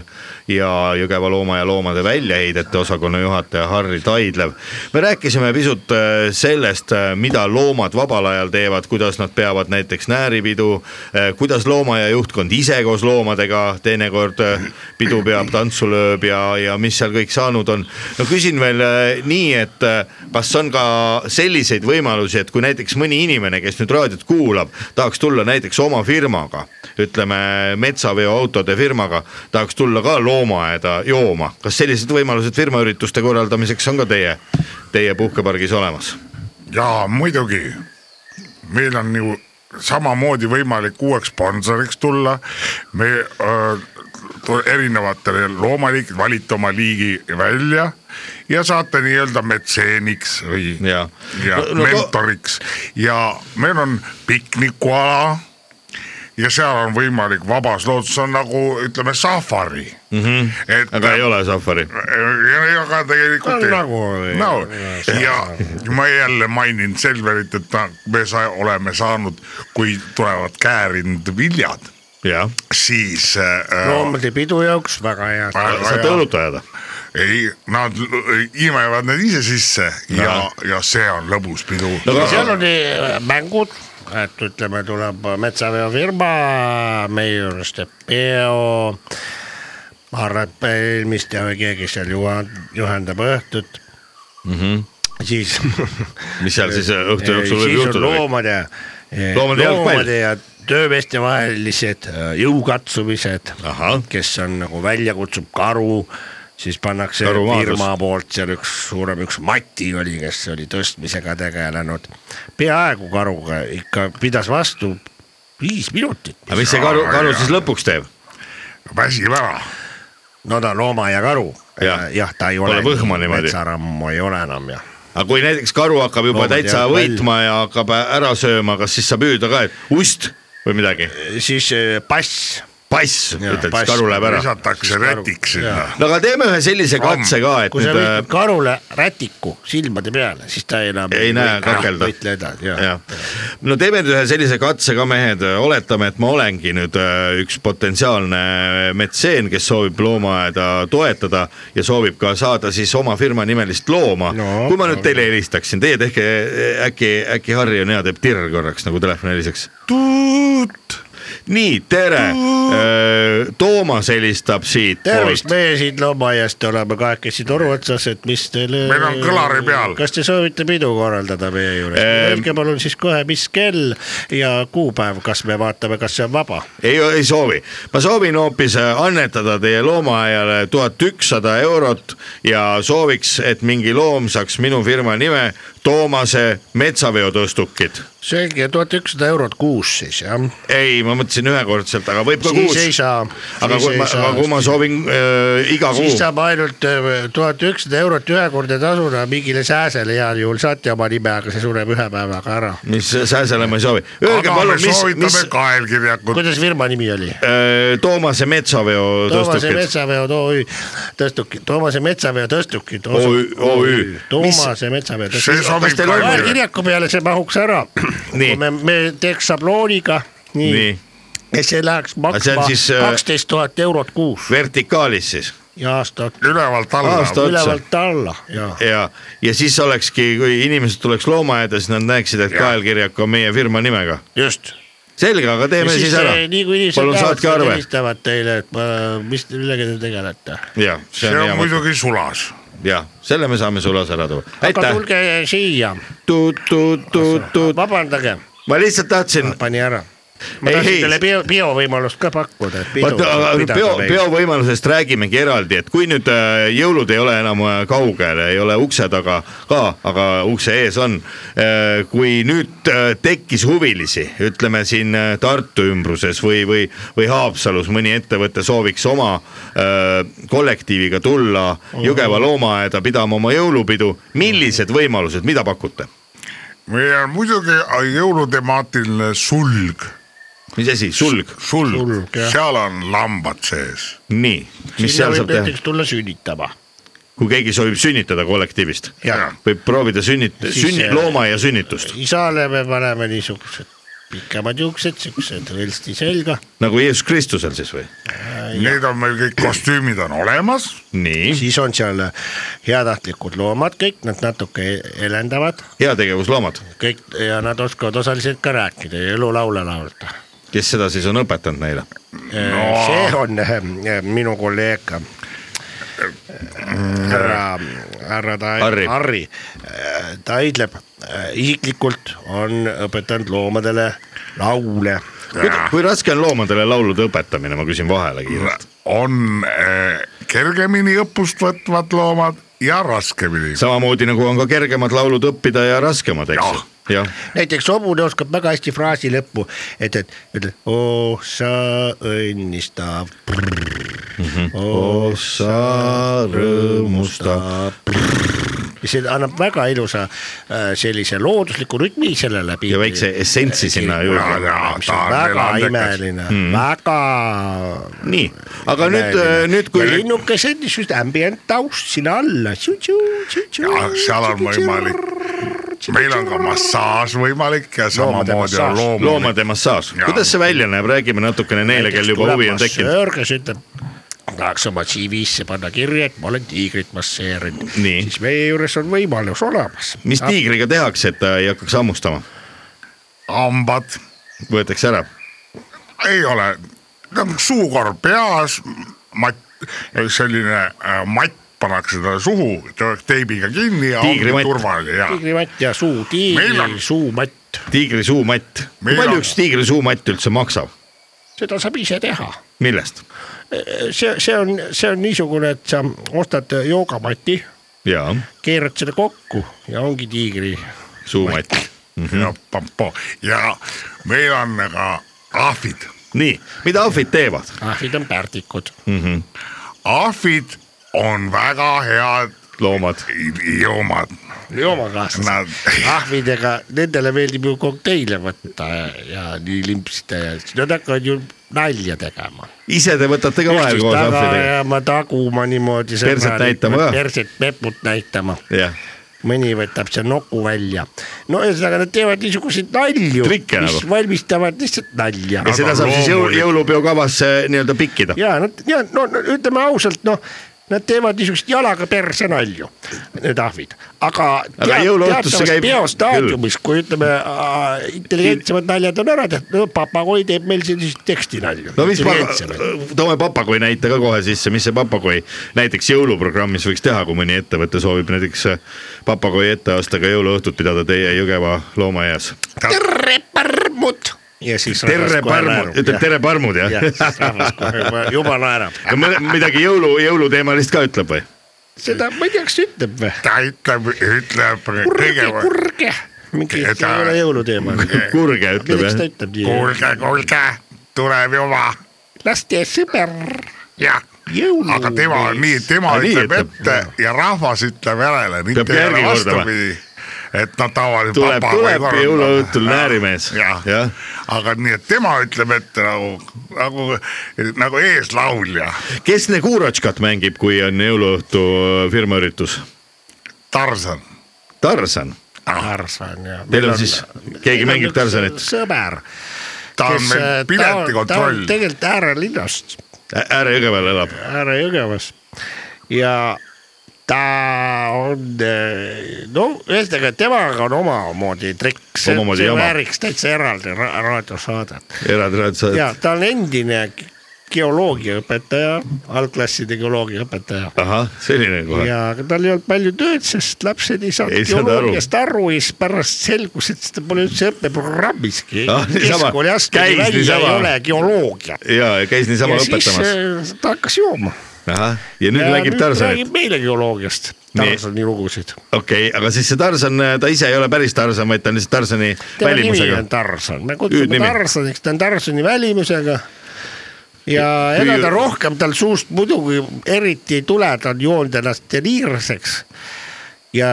Speaker 1: ja Jõgeva loomaaia loomade väljaheidete osakonna juhataja Harri Taidlev . me rääkisime pisut äh, sellest , mida loomad vabal ajal teevad , kuidas nad peavad näiteks nääripidu , eh, kuidas loomaaia juhtkond ise koos loomadega teinekord äh, pidu peab , tantsu lööb ja , ja mis seal kõik saanud on . no küsin veel äh, eh, nii , et äh, kas on ka selliseid võimalusi , et kui näiteks mõni inimene , kes nüüd raadiot kuulab , tahaks tulla näiteks oma firmaga , ütleme metsaveoautode firmaga , tahaks tulla ka loomaaeda jooma , kas sellised võimalused firmaürituste korraldamiseks on ka teie , teie puhkepargis olemas ?
Speaker 3: ja muidugi , meil on ju samamoodi võimalik uueks sponsoriks tulla . me öö, tu- erinevatele loomaliikidele valite oma liigi välja ja saate nii-öelda metseeniks või
Speaker 1: Jaa.
Speaker 3: ja
Speaker 1: No- no
Speaker 3: no, no,
Speaker 1: to-
Speaker 3: mentoriks ja meil on piknikuala ja seal on võimalik vabas looduses on nagu ütleme safari mm . -hmm. et
Speaker 1: Mhm.
Speaker 3: äh,
Speaker 1: aga ei ole safari .
Speaker 3: ja ei ole tegelikult
Speaker 2: On nagu oli.
Speaker 3: no ja ma jälle mainin Selverit , et ta- me sa, oleme saanud , kui tulevad käärinud viljad ,
Speaker 1: jah ,
Speaker 3: siis äh,
Speaker 2: loomade pidu jaoks väga head .
Speaker 3: Väga
Speaker 1: saate
Speaker 3: hea.
Speaker 1: õlut ajada .
Speaker 3: ei , nad l- imevad need ise sisse ja , ja see on lõbus pidu
Speaker 1: No aga-
Speaker 2: seal oli äh, mängud , et ütleme , tuleb metsaveofirma , meie juures teeb peo . ma arvan , et eelmiste või keegi seal juhan- , juhendab õhtut mm . -hmm. siis .
Speaker 1: mis seal siis äh, õhtu jooksul võib
Speaker 2: siis on
Speaker 1: juhtuda ?
Speaker 2: loomade ,
Speaker 1: Loomade jalgpall.
Speaker 2: loomade ja töömeeste vahelised äh, jõukatsumised
Speaker 1: ahah ,
Speaker 2: kes on nagu välja kutsub karu , siis pannakse
Speaker 1: Karu maadlus.
Speaker 2: firma poolt seal üks suurem , üks Mati oli , kes oli tõstmisega tegelenud . peaaegu karuga ikka pidas vastu viis minutit .
Speaker 1: aga mis see karu , karu siis lõpuks teeb ?
Speaker 3: väsib ära .
Speaker 2: no ta on looma ja karu
Speaker 1: Jah.
Speaker 2: ja, . jah , ta ei
Speaker 1: Pole
Speaker 2: ole .
Speaker 1: võhma niimoodi.
Speaker 2: metsarammu ei ole enam jah .
Speaker 1: aga kui näiteks karu hakkab juba
Speaker 2: Loomad
Speaker 1: täitsa
Speaker 2: jäävad välja.
Speaker 1: võitma ja hakkab ära sööma , kas siis saab hüüda ka , et ust või midagi ?
Speaker 2: siis eh, pass .
Speaker 1: pass ,
Speaker 2: Jaa,
Speaker 1: ütled
Speaker 2: pass.
Speaker 1: siis karu läheb ära .
Speaker 3: lisatakse rätik sinna .
Speaker 1: no aga teeme ühe sellise katse ka , et
Speaker 2: kui sa
Speaker 1: nüüd äh,
Speaker 2: viitad karule rätiku silmade peale , siis ta enam
Speaker 1: Ei näe kakelda.
Speaker 2: võitleda ,
Speaker 1: äh,
Speaker 2: jah .
Speaker 1: jah , no teeme nüüd ühe sellise katse ka , mehed , oletame , et ma olengi nüüd äh, üks potentsiaalne äh, metseen , kes soovib loomaaeda toetada ja soovib ka saada siis oma firma nimelist looma
Speaker 2: No,
Speaker 1: no, . kui ma nüüd teile helistaksin , teie tehke äh, äkki , äkki Harri on hea , teeb tirr korraks nagu telefon heliseks . nii , tere , Toomas helistab siit .
Speaker 2: tervist , meie siin loomaaiast oleme kahekesi toru otsas , et mis teil .
Speaker 3: Meil on kõlari peal.
Speaker 2: kas te soovite pidu korraldada meie juures ehm... ? Öelge palun siis kohe , mis kell ja kuupäev , kas me vaatame , kas see on vaba .
Speaker 1: ei , ei soovi , ma soovin hoopis äh, annetada teie loomaaiale tuhat ükssada eurot ja sooviks , et mingi loom saaks minu firma nime Toomase metsaveotõstukid .
Speaker 2: selge , tuhat ükssada eurot kuus siis jah .
Speaker 1: ei , ma mõtlesin ühekordselt , aga võib ka
Speaker 2: siis
Speaker 1: kuus
Speaker 2: ei . saa .
Speaker 1: aga kui ma , aga kui ma soovin äh, iga kuu
Speaker 2: siis , saab ainult äh, tuhat ükssada eurot ühekordne tasuna mingile sääsele heal juhul saate oma nime , aga see sureb ühe päevaga ära .
Speaker 1: mis sääsele ma ei soovi . öelge
Speaker 3: aga me
Speaker 1: palun , mis , mis
Speaker 3: soovitame kaelkirjakut .
Speaker 2: kuidas firma nimi oli ?
Speaker 1: äh, Toomase
Speaker 2: Toomase
Speaker 1: metsaveotõstukid ,
Speaker 2: metsaveod OÜ tõstukid , Toomase metsaveo tõstukid .
Speaker 1: OÜ.
Speaker 2: Toomase metsaveo
Speaker 3: see
Speaker 2: tõstukid .
Speaker 3: sobib
Speaker 1: teil on
Speaker 2: kahe
Speaker 3: kaelkirjakut .
Speaker 2: kirjaku peale see mahuks ära .
Speaker 1: Nii.
Speaker 2: kui me , me teeks sablooniga , nii
Speaker 1: nii ,
Speaker 2: ja see läheks
Speaker 1: see on
Speaker 2: maksma
Speaker 1: siis, äh,
Speaker 2: kaksteist tuhat eurot kuus
Speaker 1: vertikaalis siis
Speaker 2: ja aasta otsa ,
Speaker 3: ülevalt alla
Speaker 1: Aasta- otsa.
Speaker 2: ülevalt alla ja
Speaker 1: ja , ja siis olekski , kui inimesed tuleks loomaaeda , siis nad näeksid , et kaelkirjak on meie firma nimega .
Speaker 2: just .
Speaker 1: selge , aga teeme siis, siis ära
Speaker 2: eh, nii kui . inimesed
Speaker 1: palun saatke
Speaker 2: siis
Speaker 1: arve .
Speaker 2: helistavad teile , et ma, mis , millega te tegelete .
Speaker 1: ja , see
Speaker 3: see
Speaker 1: on
Speaker 3: on
Speaker 1: hea mõte
Speaker 3: muidugi sulas .
Speaker 1: ja selle me saame sulas ära tuua .
Speaker 2: aga
Speaker 1: aitäh .
Speaker 2: tulge siia , vabandage ,
Speaker 1: ma lihtsalt tahtsin ,
Speaker 2: pani ära . ma
Speaker 1: Ei,
Speaker 2: tahtsin
Speaker 1: ei.
Speaker 2: teile bio , biovõimalust ka pakkuda , et pidu
Speaker 1: vaata
Speaker 2: pidada
Speaker 1: peo ,
Speaker 2: meil.
Speaker 1: peovõimalusest räägimegi eraldi , et kui nüüd äh, jõulud ei ole enam äh, kaugel , ei ole ukse taga ka , aga ukse ees on . kui nüüd äh, tekkis huvilisi , ütleme siin äh, Tartu ümbruses või , või , või Haapsalus mõni ettevõte sooviks oma äh, kollektiiviga tulla Jõgeva loomaaeda pidama oma jõulupidu , millised võimalused , mida pakute ?
Speaker 3: meil on muidugi äh, jõulutemaatiline sulg ,
Speaker 1: mis asi , sulg ,
Speaker 3: sulg ,
Speaker 2: jah.
Speaker 3: seal on lambad sees .
Speaker 1: nii , mis
Speaker 2: sinna
Speaker 1: seal
Speaker 2: võib
Speaker 1: saab teha ,
Speaker 2: näiteks tulla sünnitama .
Speaker 1: kui keegi soovib sünnitada kollektiivist ?
Speaker 2: jah ,
Speaker 1: võib proovida sünnit- ,
Speaker 2: Siis,
Speaker 1: sünni
Speaker 2: äh, ,
Speaker 1: loomaaia sünnitust ,
Speaker 2: isale me paneme niisugused pikemad juuksed , siuksed relsti selga ,
Speaker 1: nagu Jeesus Kristusel siis või ?
Speaker 3: Need on meil kõik kostüümid on olemas ,
Speaker 1: nii ,
Speaker 2: siis on seal heatahtlikud loomad kõik , nad natuke helendavad
Speaker 1: heategevusloomad ,
Speaker 2: kõik ja nad oskavad osaliselt ka rääkida ja elulaule laulda .
Speaker 1: kes seda siis on õpetanud neile ?
Speaker 2: no. . see on eh, minu kolleeg eh, härra , härra ta-
Speaker 1: Harri.
Speaker 2: Harri , Eh, Taidlep äh, isiklikult on õpetanud loomadele laule .
Speaker 1: kui raske on loomadele laulude õpetamine , ma küsin vahele kiirelt .
Speaker 3: on äh, kergemini õppust võtvad loomad ja raskemini .
Speaker 1: samamoodi nagu on ka kergemad laulud õppida ja raskemad , eks ju . jah ,
Speaker 2: näiteks hobune oskab väga hästi fraasi lõppu , et , et ütleb oh sa õnnistav ,
Speaker 1: Mhm.
Speaker 2: Oh,
Speaker 1: Oh, ossa rõõmusta .
Speaker 2: see annab väga ilusa äh, sellise loodusliku rütmi selle läbi .
Speaker 1: ja väikse essentsi sinna juurde .
Speaker 2: väga imeline
Speaker 1: Mhm.
Speaker 2: mm. , väga
Speaker 1: nii , aga nüüd , nüüd
Speaker 2: kui
Speaker 1: kui .
Speaker 2: linnukese niisugust ambient taust sinna alla .
Speaker 3: ja seal on võimalik , meil on ka massaaž võimalik
Speaker 2: Loomade
Speaker 3: ja samamoodi on
Speaker 2: massaaž.
Speaker 3: loomulik .
Speaker 1: loomade massaaž ,
Speaker 3: Jaa.
Speaker 1: kuidas see välja näeb , räägime natukene neile , kel juba huvi on tekkinud .
Speaker 2: kes ütleb , tahaks oma CV-sse panna kirja , et ma olen tiigrit masseerinud .
Speaker 1: Nii.
Speaker 2: siis meie juures on võimalus olemas .
Speaker 1: mis tiigriga tehakse , et ta ei hakkaks hammustama ,
Speaker 3: hambad
Speaker 1: võetakse ära ,
Speaker 3: ei ole , suukorv peas , matt , selline äh, matt pannakse talle suhu , teibiga kinni ja
Speaker 1: Tiigri
Speaker 3: ongi
Speaker 1: matt.
Speaker 3: turvaline ja
Speaker 2: tiigrimatt ja suu
Speaker 3: Meil
Speaker 2: tiigri
Speaker 3: on- ,
Speaker 2: suumatt ,
Speaker 1: tiigri suumatt . kui
Speaker 3: Meil
Speaker 1: palju
Speaker 3: on-
Speaker 1: üks tiigri suumatt üldse maksab ,
Speaker 2: seda saab ise teha
Speaker 1: millest ?
Speaker 2: see , see on , see on niisugune , et sa ostad joogamati ,
Speaker 1: jaa ,
Speaker 2: keerad selle kokku ja ongi tiigri .
Speaker 1: suumatt .
Speaker 3: ja pampoo ja meil on ka ahvid ,
Speaker 1: nii , mida ahvid teevad ?
Speaker 2: ahvid on pärdikud .
Speaker 3: ahvid on väga head
Speaker 1: loomad ,
Speaker 3: joomad ,
Speaker 2: joomakaaslased
Speaker 3: nad
Speaker 2: ahvidega , nendele meeldib ju kokteile võtta ja, ja nii limpsida ja siis nad hakkavad ju nalja tegema .
Speaker 1: ise te võtate ka vahel koos
Speaker 2: taga
Speaker 1: ahvidega ?
Speaker 2: ajama , taguma niimoodi .
Speaker 1: Perset näitama ka?
Speaker 2: perset peput näitama ,
Speaker 1: jah ,
Speaker 2: mõni võtab seal noku välja . no ühesõnaga nad teevad niisuguseid nalju ,
Speaker 1: Trikke
Speaker 2: mis
Speaker 1: nagu.
Speaker 2: valmistavad lihtsalt nalja
Speaker 1: ja seda saab siis jõu- ,
Speaker 3: loomulik-
Speaker 1: jõulupeo kavasse nii-öelda pikkida .
Speaker 2: ja nad ja no no ütleme ausalt , noh , nad teevad niisugust jalaga perse nalju , need ahvid , aga .
Speaker 1: Aga jõuluõhtus see käib
Speaker 2: peostaadiumis , kui ütleme äh, intelligentsemad naljad on ära tehtud , no papagoi teeb meil selliseid tekstinalju .
Speaker 1: no mis , toome papagoi näite ka kohe sisse , mis see papagoi näiteks jõuluprogrammis võiks teha , kui mõni ettevõte soovib näiteks äh, papagoi etteastega jõuluõhtut pidada teie Jõgeva loomaaias .
Speaker 2: tere , parmud . ja siis .
Speaker 1: tere , parmud , ütleb . tere , parmud jah
Speaker 2: jah , siis rahvas kohe juba- juba naerab ,
Speaker 1: ja ? midagi jõulu , jõuluteemalist ka ütleb või ?
Speaker 2: seda ma ei tea , kas ütleb või ?
Speaker 3: ta ütleb , ütleb
Speaker 2: kurge ,
Speaker 3: kõigepealt
Speaker 2: kurge , mingi ,
Speaker 3: Ja
Speaker 2: see
Speaker 3: ta-
Speaker 2: ei ole jõuluteema .
Speaker 1: kurge ütleb
Speaker 2: milleks
Speaker 1: jah
Speaker 2: ta ? ütleb nii ?
Speaker 3: kuulge , kuulge , tuleb juba ,
Speaker 2: laste sõber ,
Speaker 3: jah .
Speaker 2: jõulu .
Speaker 3: aga tema on nii , tema
Speaker 1: Aa, nii
Speaker 3: ütleb
Speaker 1: ütleb.
Speaker 3: ette ja rahvas ütleb järele ,
Speaker 1: Peab
Speaker 3: mitte ei ole
Speaker 1: järgi korda või?
Speaker 3: vastupidi . et nad tavaliselt .
Speaker 1: tuleb , tuleb jõuluõhtul näärimees ,
Speaker 3: jah ja.
Speaker 1: jah .,
Speaker 3: aga nii , et tema ütleb ette nagu , nagu , nagu eeslaulja ,
Speaker 1: kes Negurotškat mängib , kui on jõuluõhtu äh, firmaüritus ?
Speaker 3: Tarzan .
Speaker 1: Tarzan ,
Speaker 2: Tarsan ja .
Speaker 1: teil on siis , keegi mängib Tarzanit ?
Speaker 2: äh, sõber . äh,
Speaker 3: ta on meil piletikontroll ,
Speaker 2: tegelikult äärelinnas ,
Speaker 1: Ääre-Jõgeval elab ,
Speaker 2: Ääre-Jõgevas ja ta on , no ühesõnaga temaga on omamoodi trikk , see
Speaker 1: Omamoodi
Speaker 2: see
Speaker 1: jama.
Speaker 2: vääriks täitsa eraldi ra- raadiosaadet
Speaker 1: eraldi
Speaker 2: ja ta on endine ge- geoloogiaõpetaja , algklasside geoloogiaõpetaja
Speaker 1: ahah , selline kohe .
Speaker 2: ja aga tal ei olnud palju tööd , sest lapsed ei
Speaker 1: Ei
Speaker 2: saanud
Speaker 1: saanud aru.
Speaker 2: geoloogiast aru ja siis pärast selgus , et seda pole üldse õppeprogrammiski
Speaker 1: Ah, . niisama.
Speaker 2: keskkooli astmeni
Speaker 1: Käis
Speaker 2: välja ei
Speaker 1: niisama.
Speaker 2: ole geoloogia .
Speaker 1: ja , ja käis niisama
Speaker 2: ja siis
Speaker 1: õpetamas .
Speaker 2: äh, ta hakkas jooma .
Speaker 1: ahah , ja nüüd räägib Tarzanit ,
Speaker 2: räägib meile geoloogiast ,
Speaker 1: Nii.
Speaker 2: Tarzani lugusid .
Speaker 1: okei , aga siis see Tarzan , ta ise ei ole päris Tarzan , vaid ta on lihtsalt Tarzani
Speaker 2: tema nimi
Speaker 1: välimusega
Speaker 2: on . Tarzan , me kutsume
Speaker 1: Hüüdnimi.
Speaker 2: Tarzaniks , ta on Tarzani välimusega ja ega ta rohkem tal suust muidugi eriti ei tule , ta on joonud ennast deliirseks . ja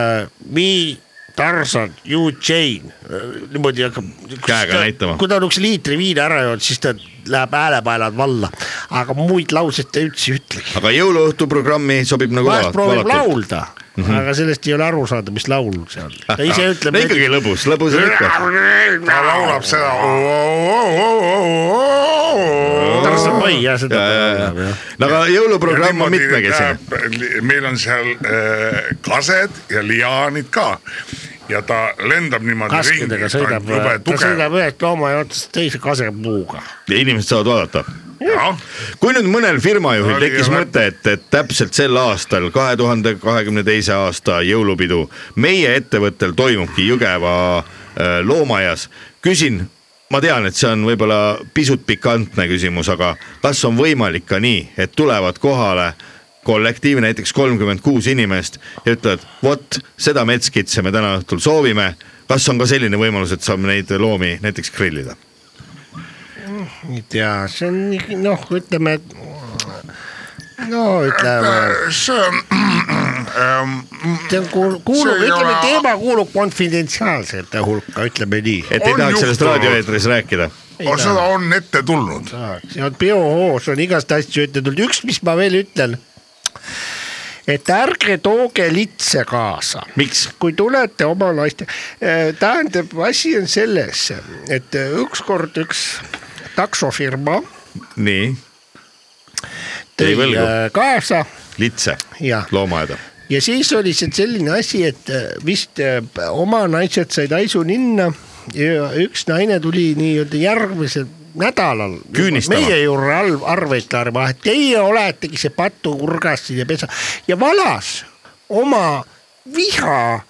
Speaker 2: me , Tarzan , you Jane , äh, niimoodi hakkab .
Speaker 1: Käega näitama.
Speaker 2: kui ta on üks liitri viina ära joonud , siis ta läheb häälepaelad valla , aga muid lauseid ta üldse ei ütlegi .
Speaker 1: aga jõuluõhtu programmi sobib nagu
Speaker 2: vahest proovib
Speaker 1: valatult.
Speaker 2: laulda ,
Speaker 1: Mhm.
Speaker 2: aga sellest ei ole aru saada , mis laul see on . ta ise ütleb
Speaker 1: no . ikkagi lõbus , lõbus on ikka .
Speaker 3: ta laulab seda . "Oh,
Speaker 2: Tarzan Pai jah , seda ta laulab jah .
Speaker 1: no aga jõuluprogramm on mitmekesine .
Speaker 3: meil on seal äh, kased ja liaanid ka ja ta lendab niimoodi
Speaker 2: kaskedega
Speaker 3: ta on
Speaker 2: sõidab
Speaker 3: jube ,
Speaker 2: ta
Speaker 3: tugev .
Speaker 2: sõidab ühest loomaaia otsast teise kasepuuga .
Speaker 1: ja inimesed saavad vaadata . kui nüüd mõnel firmajuhil
Speaker 3: Oli
Speaker 1: tekkis
Speaker 3: väga-
Speaker 1: mõte , et , et täpselt sel aastal , kahe tuhande kahekümne teise aasta jõulupidu meie ettevõttel toimubki Jõgeva äh, loomaaias , küsin , ma tean , et see on võib-olla pisut pikantne küsimus , aga kas on võimalik ka nii , et tulevad kohale kollektiiv , näiteks kolmkümmend kuus inimest ja ütlevad , vot seda metskitse me täna õhtul soovime , kas on ka selline võimalus , et saame neid loomi näiteks grillida ?
Speaker 2: ei tea , see on nii- noh , ütleme . no ütleme ,
Speaker 3: see on ähm,
Speaker 2: see on kuul- , kuulub ,
Speaker 3: See ei
Speaker 2: ütleme
Speaker 3: ole-
Speaker 2: teema kuulub konfidentsiaalsete hulka , ütleme nii .
Speaker 1: et ei
Speaker 3: On
Speaker 1: tahaks sellest
Speaker 3: juhtunud.
Speaker 1: raadioeetris rääkida
Speaker 3: o- oh, seda on ette tulnud .
Speaker 2: tahaks ja biohoos on igast asju üteldud , üks , mis ma veel ütlen . et ärge tooge litse kaasa .
Speaker 1: Miks?
Speaker 2: kui tulete oma naiste , tähendab , asi on selles , et eh, ükskord üks taksofirma
Speaker 1: nii , Jäi
Speaker 2: tõi
Speaker 1: võlgu.
Speaker 2: eh, kaasa
Speaker 1: litse ,
Speaker 2: ja ,
Speaker 1: loomaaeda .
Speaker 2: ja siis oli see selline asi , et eh, vist eh, oma naised said haisu ninna ja üks naine tuli nii-öelda järgmisel nädalal .
Speaker 1: Küünistama.
Speaker 2: meie juurde arv , arveid tarvima , et teie oletegi see patuurgas siin ja pesa ja valas oma viha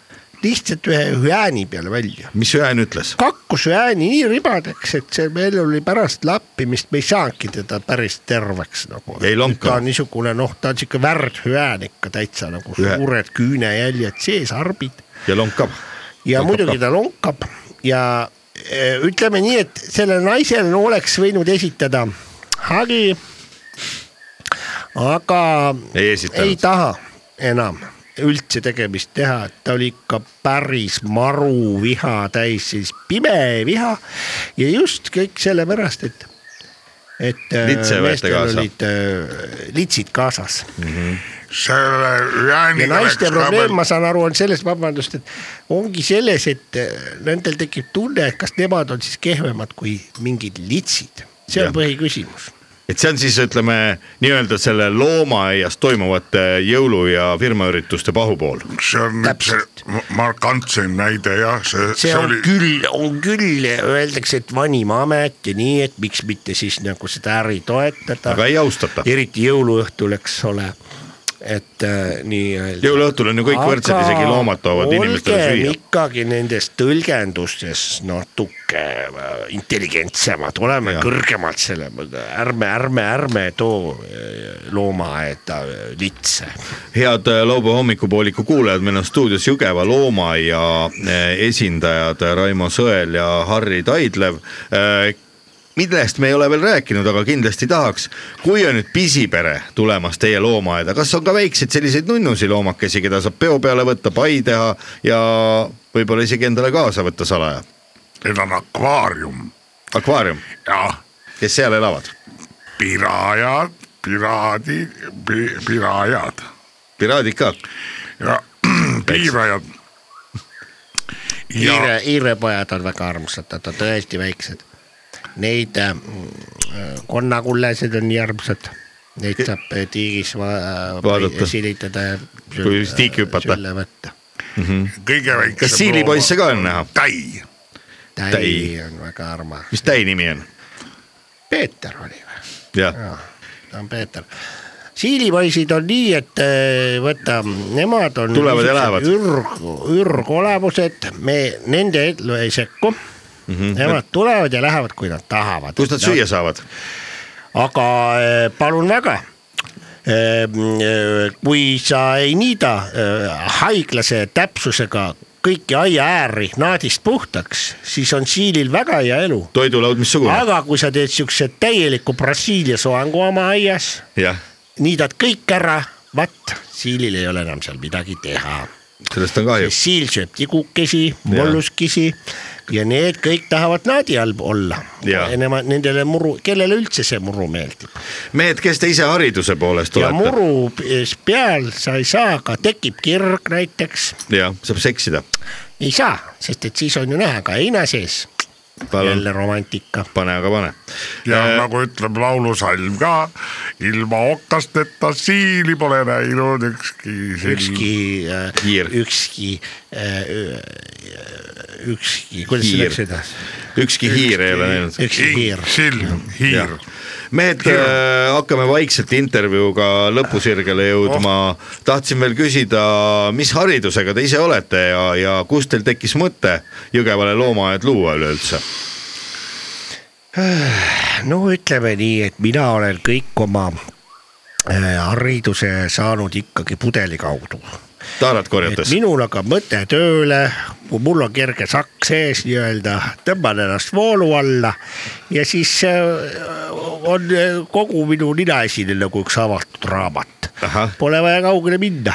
Speaker 2: lihtsalt ühe hüääni peale välja
Speaker 1: mis Jään ütles ?
Speaker 2: kakkus hääni nii ribadeks , et see meil oli pärast lappimist , me ei saanudki teda päris terveks nagu .
Speaker 1: Jäi lonka.
Speaker 2: ta on niisugune noh , ta on sihuke värdhüään ikka täitsa nagu
Speaker 1: Ühe-
Speaker 2: suured küünejäljed sees , arbid
Speaker 1: ja lonkab .
Speaker 2: ja
Speaker 1: Lonkab
Speaker 2: muidugi ta lonkab ja eh, ütleme nii , et sellel naisel oleks võinud esitada hagi . aga
Speaker 1: Ei esitanud.
Speaker 2: ei taha enam üldse tegemist teha , et ta oli ikka päris maru viha täis , siis pime viha ja just kõik sellepärast , et , et .
Speaker 1: Litse võeti kaasa.
Speaker 2: olid eh, litsid kaasas
Speaker 3: selle
Speaker 2: ja
Speaker 3: jääniga läks
Speaker 2: naiste
Speaker 3: ka
Speaker 2: probleem ,
Speaker 3: veel
Speaker 2: ma saan aru , on selles , vabandust , et ongi selles , et äh, nendel tekib tunne , et kas nemad on siis kehvemad kui mingid litsid . see
Speaker 1: Jah.
Speaker 2: on põhiküsimus .
Speaker 1: et see on siis , ütleme nii-öelda selle loomaaias toimuvate jõulu- ja firmaürituste pahupool .
Speaker 3: see on nüüd see
Speaker 2: Täpselt.
Speaker 3: markantsem äh, näide jah , see ,
Speaker 2: see on oli... küll , on küll , öeldakse , et vanim amet ja nii , et miks mitte siis nagu seda äri toetada
Speaker 1: aga . ei austata .
Speaker 2: eriti jõuluõhtul , eks ole , et äh, nii-öelda .
Speaker 1: jõuluõhtul on ju kõik võrdsed ,
Speaker 2: Aga
Speaker 1: isegi loomad toovad inimestele
Speaker 2: olgem
Speaker 1: süüa .
Speaker 2: ikkagi nendes tõlgendustes natuke äh, intelligentsemad , oleme
Speaker 1: Jah.
Speaker 2: ja. kõrgemad selle , ärme , ärme , ärme too äh, loomaaeda äh, litse .
Speaker 1: head äh, laupäeva hommikupooliku kuulajad , meil on stuudios Jõgeva loomaaia äh, esindajad äh, Raimo Sõel ja Harri Taidlev . millest me ei ole veel rääkinud , aga kindlasti tahaks , kui on nüüd pisipere tulemas teie loomaaeda , kas on ka väikseid selliseid nunnusi loomakesi , keda saab peo peale võtta , pai teha ja võib-olla isegi endale kaasa võtta salaja ?
Speaker 3: need on akvaarium
Speaker 1: akvaarium ,
Speaker 3: ja
Speaker 1: kes seal elavad ,
Speaker 3: pirajad , piraadid pi, , pirajad
Speaker 1: piraadid ka ,
Speaker 3: ja piirajad . ja
Speaker 2: hiire , hiirepojad on väga armsad , nad on tõesti väiksed . Neid äh, mm, konnakullesid on nii armsad , neid saab äh, tiigis va-
Speaker 1: Vaadata.
Speaker 2: silitada ja .
Speaker 1: Kui just tiiki hüpata.
Speaker 2: sülle võtta .
Speaker 3: kõige väiksem .
Speaker 1: kas siilipoisse ka on näha ,
Speaker 3: täi ,
Speaker 2: täi
Speaker 1: Täi.
Speaker 2: on väga armas ,
Speaker 1: mis täi nimi on ?
Speaker 2: Peeter oli või ?
Speaker 1: jah ,
Speaker 2: jah , ta on Peeter . siilipoisid on nii , et eh, vaata , nemad on .
Speaker 1: Tulevad ja lähevad.
Speaker 2: ürg , ürgolemused , me nende ellu ei sekku mm . -hmm. Nemad tulevad ja lähevad , kui nad tahavad .
Speaker 1: kust Mhm. nad süüa saavad ?
Speaker 2: aga eh, palun väga . kui sa ei niida eh, haiglase täpsusega kõiki aia ääri naadist puhtaks , siis on siilil väga hea elu .
Speaker 1: toidulaud missugune ?
Speaker 2: aga kui sa teed siukse täieliku Brasiilia soengu oma aias
Speaker 1: jah ,
Speaker 2: niidad kõik ära , vatt , siilil ei ole enam seal midagi teha .
Speaker 1: sellest on kahju .
Speaker 2: siil sööb tigukesi , molluskisi ja need kõik tahavad naadi all olla .
Speaker 1: Jaa.
Speaker 2: Nemad , nendele muru , kellele üldse see muru meeldib
Speaker 1: mehed , kes te ise hariduse poolest
Speaker 2: ja
Speaker 1: olete ?
Speaker 2: muru p- peal sa ei saa , aga tekib kirg näiteks ,
Speaker 1: jah , saab seksida .
Speaker 2: ei saa , sest et siis on ju näha ka heina sees ,
Speaker 1: palun ,
Speaker 2: jälle romantika .
Speaker 1: pane aga pane .
Speaker 3: ja
Speaker 1: Äh.
Speaker 3: nagu ütleb laulusalm ka , ilma okasteta siili pole näinud ükski siil .
Speaker 2: ükski ,
Speaker 1: Kiir.
Speaker 2: ükski , äh, ükski , kuidas see
Speaker 1: Kiir.
Speaker 2: läks edasi ?
Speaker 1: ükski hiir ei ole näinud .
Speaker 2: ükski hiir .
Speaker 3: silm , hiir
Speaker 1: Jah. mehed , hakkame vaikselt intervjuuga lõpusirgele jõudma oh. . tahtsin veel küsida , mis haridusega te ise olete ja , ja kust teil tekkis mõte Jõgevale loomaaed luua üleüldse ?
Speaker 2: no ütleme nii , et mina olen kõik oma äh, hariduse saanud ikkagi pudeli kaudu .
Speaker 1: taarat
Speaker 2: et
Speaker 1: korjates .
Speaker 2: minul hakkab mõte tööle , mul on kerge sakk sees nii-öelda , tõmban ennast voolu alla ja siis äh, on äh, kogu minu ninaesine nagu üks avatud raamat .
Speaker 1: Ahah.
Speaker 2: Pole vaja kaugele minna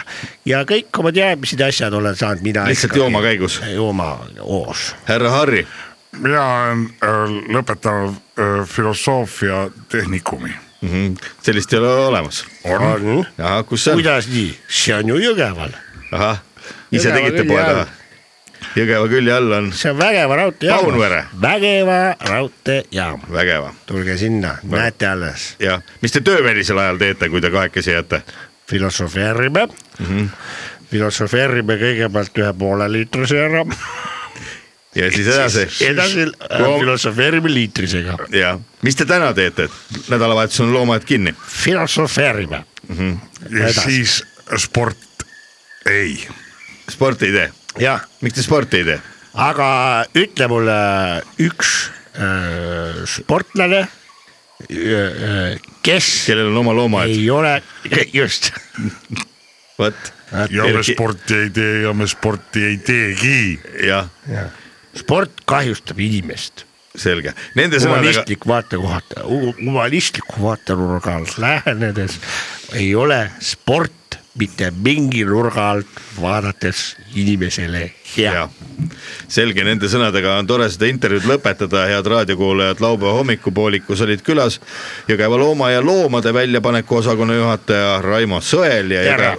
Speaker 2: ja kõik oma teadmised ja asjad olen saanud mina .
Speaker 1: Lihtsalt jooma käigus?
Speaker 2: jooma hoos
Speaker 1: härra Harri ,
Speaker 3: mina olen äh, lõpetanud äh, filosoofia tehnikumi .
Speaker 1: mhm, sellist ei ole olemas .
Speaker 2: on ,
Speaker 1: ahah , kus see on ?
Speaker 2: kuidas nii , see on ju Jõgeval ,
Speaker 1: ahah , ise
Speaker 2: Jõgeva
Speaker 1: tegite
Speaker 2: külje
Speaker 1: poe
Speaker 2: all.
Speaker 1: taha ? Jõgeva külje all on
Speaker 2: see on Vägeva raudteejaam
Speaker 1: Paunvere. .
Speaker 2: Vägeva raudteejaam ,
Speaker 1: vägeva ,
Speaker 2: tulge sinna ,
Speaker 1: Noh.
Speaker 2: näete alles ,
Speaker 1: jah . mis te töövälisel ajal teete , kui te kahekesi jääte ?
Speaker 2: filosofeerime mm .
Speaker 1: Mhm.
Speaker 2: -hmm. filosofeerime kõigepealt ühe poole liitrise ära ,
Speaker 1: ja siis edasi ?
Speaker 2: edasi äh, filosofeerime liitrisega ,
Speaker 1: ja mis te täna teete , et nädalavahetusel on loomaaed kinni ,
Speaker 2: filosofeerime .
Speaker 3: ja
Speaker 2: Edasi.
Speaker 3: Edasi. siis sport ei .
Speaker 1: sporti ei tee ,
Speaker 2: jah ,
Speaker 1: miks te sporti ei tee ?
Speaker 2: aga ütle mulle üks äh, sportlane , kes
Speaker 1: kellel on oma loomaaed ,
Speaker 2: ei ole , just
Speaker 1: vot
Speaker 3: ja me
Speaker 1: Erki-
Speaker 3: sporti ei tee ja me sporti ei teegi .
Speaker 1: jah ,
Speaker 2: sport kahjustab inimest .
Speaker 1: selge , nende sõnadega ,
Speaker 2: humanistlik vaatekoht , humanistliku vaatenurga alt lähenedes ei ole sport mitte mingi nurga alt vaadates inimesele hea
Speaker 1: jah . selge , nende sõnadega on tore seda intervjuud lõpetada , head raadiokuulajad , laupäeva hommikupoolikus olid külas Jõgeva looma ja loomade väljapaneku osakonna juhataja Raimo Sõel ja
Speaker 2: Tere!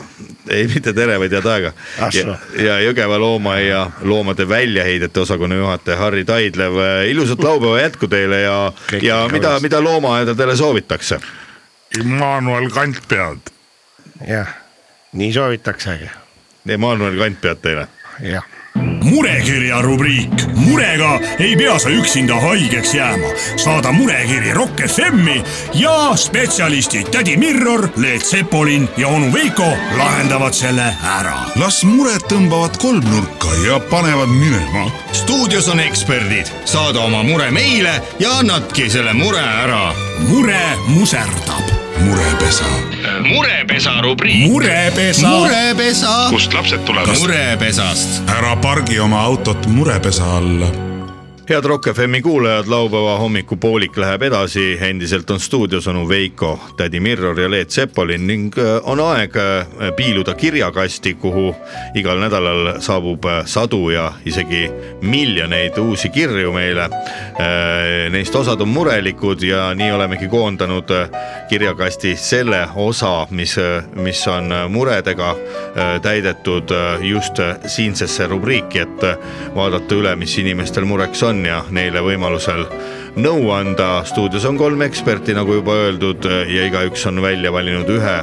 Speaker 1: ei mitte tere , vaid head aega
Speaker 2: Ah soo.
Speaker 1: ja, ja Jõgeva loomaaia loomade väljaheidete osakonna juhataja Harri Taidlev , ilusat laupäeva jätku teile ja ,
Speaker 2: Kõike
Speaker 1: ja
Speaker 2: head
Speaker 1: mida ,
Speaker 2: alles.
Speaker 1: mida loomaaedadele soovitakse ?
Speaker 3: Immanuel Kantpead .
Speaker 2: jah , nii soovitaksegi ,
Speaker 1: Emmanuel Kantpead teile .
Speaker 2: jah .
Speaker 5: murekirja rubriik . murega ei pea sa üksinda haigeks jääma . saada murekiri Rock FM-i ja spetsialistid tädi Mirror , Leet Sepolin ja onu Veiko lahendavad selle ära
Speaker 7: las mured tõmbavad kolmnurka ja panevad minema .
Speaker 8: stuudios on eksperdid , saada oma mure meile ja annadki selle mure ära .
Speaker 5: mure muserdab .
Speaker 7: murepesa .
Speaker 8: murepesa rubriik .
Speaker 5: murepesa mure. .
Speaker 8: murepesa .
Speaker 4: kust lapsed tulevad ?
Speaker 8: murepesast .
Speaker 7: ära pargi oma autot murepesa alla
Speaker 1: head Rock FM-i kuulajad , laupäeva hommikupoolik läheb edasi , endiselt on stuudios onu Veiko , tädi Mirror ja Leet Sepolin ning äh, on aeg äh, piiluda kirjakasti , kuhu igal nädalal saabub äh, sadu ja isegi miljoneid uusi kirju meile . Neist osad on murelikud ja nii olemegi koondanud äh, kirjakasti selle osa , mis , mis on äh, muredega äh, täidetud äh, just äh, siinsesse rubriiki , et äh, vaadata üle , mis inimestel mureks on ja neile võimalusel nõu anda . stuudios on kolm eksperti , nagu juba öeldud , ja igaüks on välja valinud ühe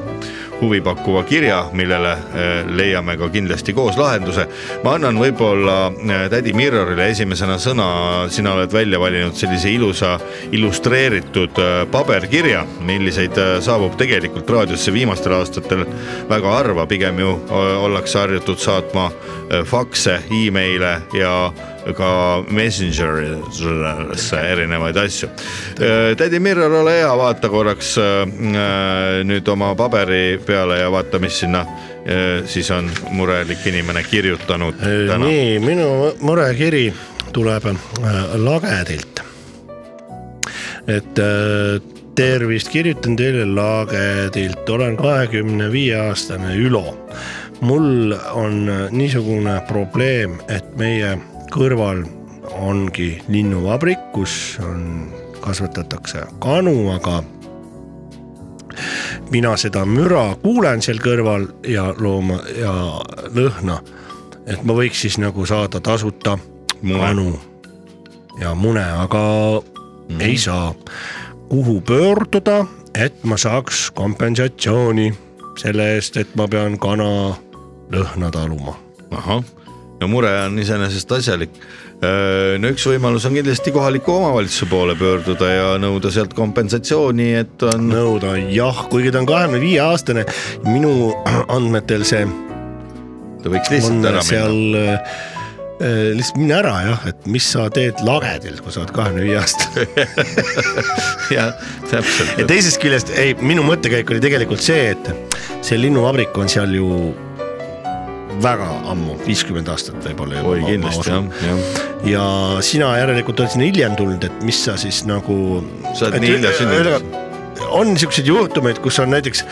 Speaker 1: huvipakkuva kirja , millele äh, leiame ka kindlasti koos lahenduse . ma annan võib-olla äh, tädi Mirrorile esimesena sõna , sina oled välja valinud sellise ilusa illustreeritud äh, paberkirja , milliseid äh, saabub tegelikult raadiosse viimastel aastatel väga harva , pigem ju äh, ollakse harjutud saatma äh, fakse , email'e ja ka Messengerisse erinevaid asju . tädi Mirror , ole hea , vaata korraks äh, nüüd oma paberi peale ja vaata , mis sinna äh, siis on murelik inimene kirjutanud täna .
Speaker 2: nii , minu murekiri tuleb äh, Lagedilt . et äh, tervist , kirjutan teile Lagedilt , olen kahekümne viie aastane Ülo . mul on äh, niisugune probleem , et meie kõrval ongi linnuvabrik , kus on , kasvatatakse kanu , aga mina seda müra kuulen seal kõrval ja looma ja lõhna . et ma võiks siis nagu saada tasuta
Speaker 1: Mune.
Speaker 2: kanu ja mune , aga mm. ei saa . kuhu pöörduda , et ma saaks kompensatsiooni selle eest , et ma pean kana lõhna taluma
Speaker 1: ahah , ja mure on iseenesest asjalik . no üks võimalus on kindlasti kohaliku omavalitsuse poole pöörduda ja nõuda sealt kompensatsiooni , et on no.
Speaker 2: nõuda jah , kuigi ta on kahekümne viie aastane , minu andmetel see
Speaker 1: ta võiks
Speaker 2: on
Speaker 1: lihtsalt ära seal... minna .
Speaker 2: seal äh, lihtsalt mine ära jah , et mis sa teed lagedil , kui sa oled kahekümne viie aastane .
Speaker 1: jah ,
Speaker 2: ja
Speaker 1: täpselt .
Speaker 2: teisest küljest , ei minu mõttekäik oli tegelikult see , et see linnuvabrik on seal ju väga ammu , viiskümmend aastat võib-olla juba .
Speaker 1: oi kindlasti jah , jah .
Speaker 2: ja sina järelikult oled sinna hiljem tulnud , et mis sa siis nagu .
Speaker 1: Sa oled nii hilja sündinud.
Speaker 2: on niisuguseid juhtumeid , kus on näiteks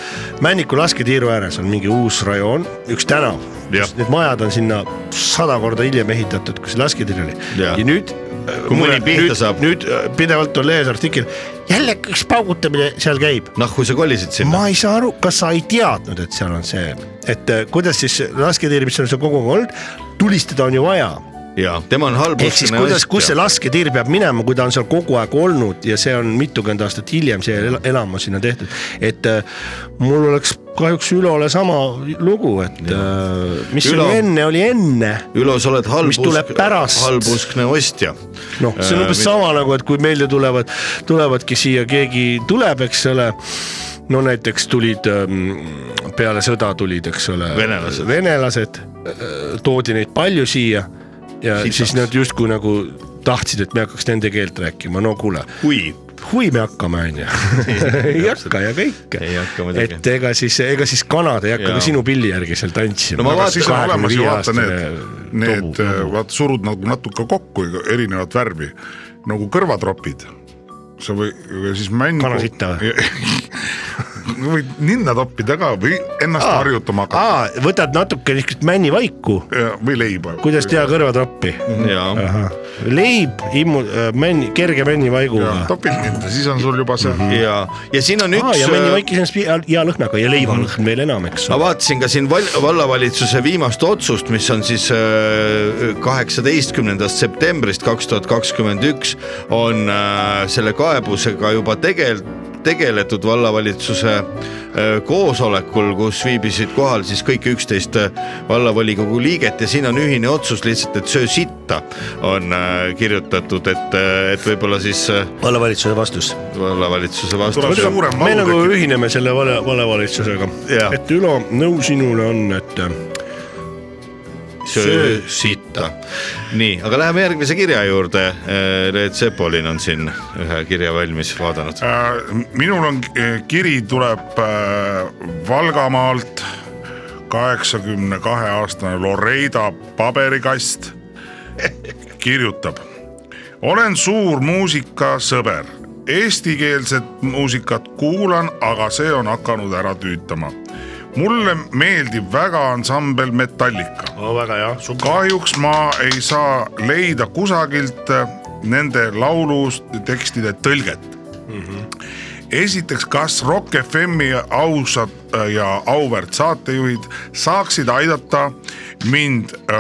Speaker 2: Männiku lasketiiru ääres on mingi uus rajoon , üks tänav ,
Speaker 1: Jah.
Speaker 2: kus need majad on sinna sada korda hiljem ehitatud , kui see lasketiir oli .
Speaker 1: Jah.
Speaker 2: ja nüüd .
Speaker 1: Kui mõni pihta saab.
Speaker 2: nüüd äh, pidevalt on lehes artikkel , jälle üks paugutamine seal käib .
Speaker 1: noh , kui sa kolisid sinna
Speaker 2: ma ei saa aru , kas sa ei teadnud , et seal on see , et äh, kuidas siis lasketiir , mis on seal kogu aeg olnud , tulistada on ju vaja
Speaker 1: Ma... ja tema on halb .
Speaker 2: ehk siis kuidas , kus see lasketiir peab minema , kui ta on seal kogu aeg olnud ja see on mitukümmend aastat hiljem see el- elamu sinna tehtud , et äh, mul oleks kahjuks Ülole sama lugu , et äh, mis
Speaker 1: Ülo-
Speaker 2: Ülo... oli enne , oli enne .
Speaker 1: Ülo , sa oled halb
Speaker 2: Mis tuleb pärast.
Speaker 1: halbuskne ostja .
Speaker 2: noh ,
Speaker 1: Äh,
Speaker 2: see on umbes sama nagu , et kui meile tulevad , tulevadki siia , keegi tuleb , eks ole no näiteks tulid ähm, peale sõda tulid , eks ole ,
Speaker 1: Venelased.
Speaker 2: venelased , toodi neid palju siia
Speaker 1: Sitaks.
Speaker 2: ja Sitaks. siis nad justkui nagu tahtsid , et me hakkaks nende keelt rääkima , no kuule ,
Speaker 1: kui
Speaker 2: hui me hakkame , onju . ei hakka ja kõik .
Speaker 1: Ei hakka muidugi.
Speaker 2: et ega siis , ega siis kanad ei hakka
Speaker 1: Jaa.
Speaker 2: ka sinu pilli järgi seal tantsima
Speaker 1: No ma
Speaker 3: aga
Speaker 1: vaatan-
Speaker 3: siis on olemas ju vaata need , need
Speaker 2: tobu,
Speaker 3: äh, vaat surud nagu natuke kokku erinevat värvi nagu kõrvatropid . sa või , või siis mängu .
Speaker 2: Kanasitta või? ?
Speaker 3: võid ninna toppida ka või ennast
Speaker 2: Aa.
Speaker 3: harjutama hakata
Speaker 2: aa , võtad natuke niisugust männivaiku ,
Speaker 3: Ja- või leiba .
Speaker 2: kuidas teha kõrvatroppi .
Speaker 1: ja ,
Speaker 2: leib , immu- , männ , kerge männivaiguga
Speaker 3: topid ninna , siis on sul juba see
Speaker 2: Mhm.
Speaker 1: ja , ja siin on
Speaker 2: aa ,
Speaker 1: üks äh,
Speaker 2: ja . mõni väike sellist hea hea lõhnaga ja leivalõhn veel enam , eks
Speaker 1: ma
Speaker 2: ole .
Speaker 1: vaatasin ka siin val- vallavalitsuse viimast otsust , mis on siis äh, kaheksateistkümnendast septembrist kaks tuhat kakskümmend üks on äh, selle kaebusega juba tegel- , tegeletud vallavalitsuse äh, koosolekul , kus viibisid kohal siis kõik üksteist äh, vallavolikogu liiget ja siin on ühine otsus lihtsalt , et söö sitta on äh, kirjutatud , et , et võib-olla siis äh,
Speaker 2: vallavalitsuse vastus .
Speaker 1: vallavalitsuse vastu
Speaker 3: tuleb suurem
Speaker 2: me
Speaker 3: valu
Speaker 2: nagu
Speaker 3: tekib .
Speaker 2: ühineme selle vale , valevalitsusega
Speaker 1: Jah. .
Speaker 2: et Ülo , nõu sinule on , et äh,
Speaker 1: söö sitta . nii , aga läheme järgmise kirja juurde . Leet Sepolin on siin ühe kirja valmis vaadanud .
Speaker 3: Äh, minul on eh, kiri tuleb äh, Valgamaalt , kaheksakümne kahe aastane Loreida paberikast kirjutab . olen suur muusikasõber , eestikeelset muusikat kuulan , aga see on hakanud ära tüütama . mulle meeldib väga ansambel Metallica .
Speaker 2: väga hea ,
Speaker 3: kahjuks ma ei saa leida kusagilt äh, nende laulutekstide tõlget mm . -hmm. esiteks , kas Rock FM-i ausad äh, ja auväärt saatejuhid saaksid aidata mind öö,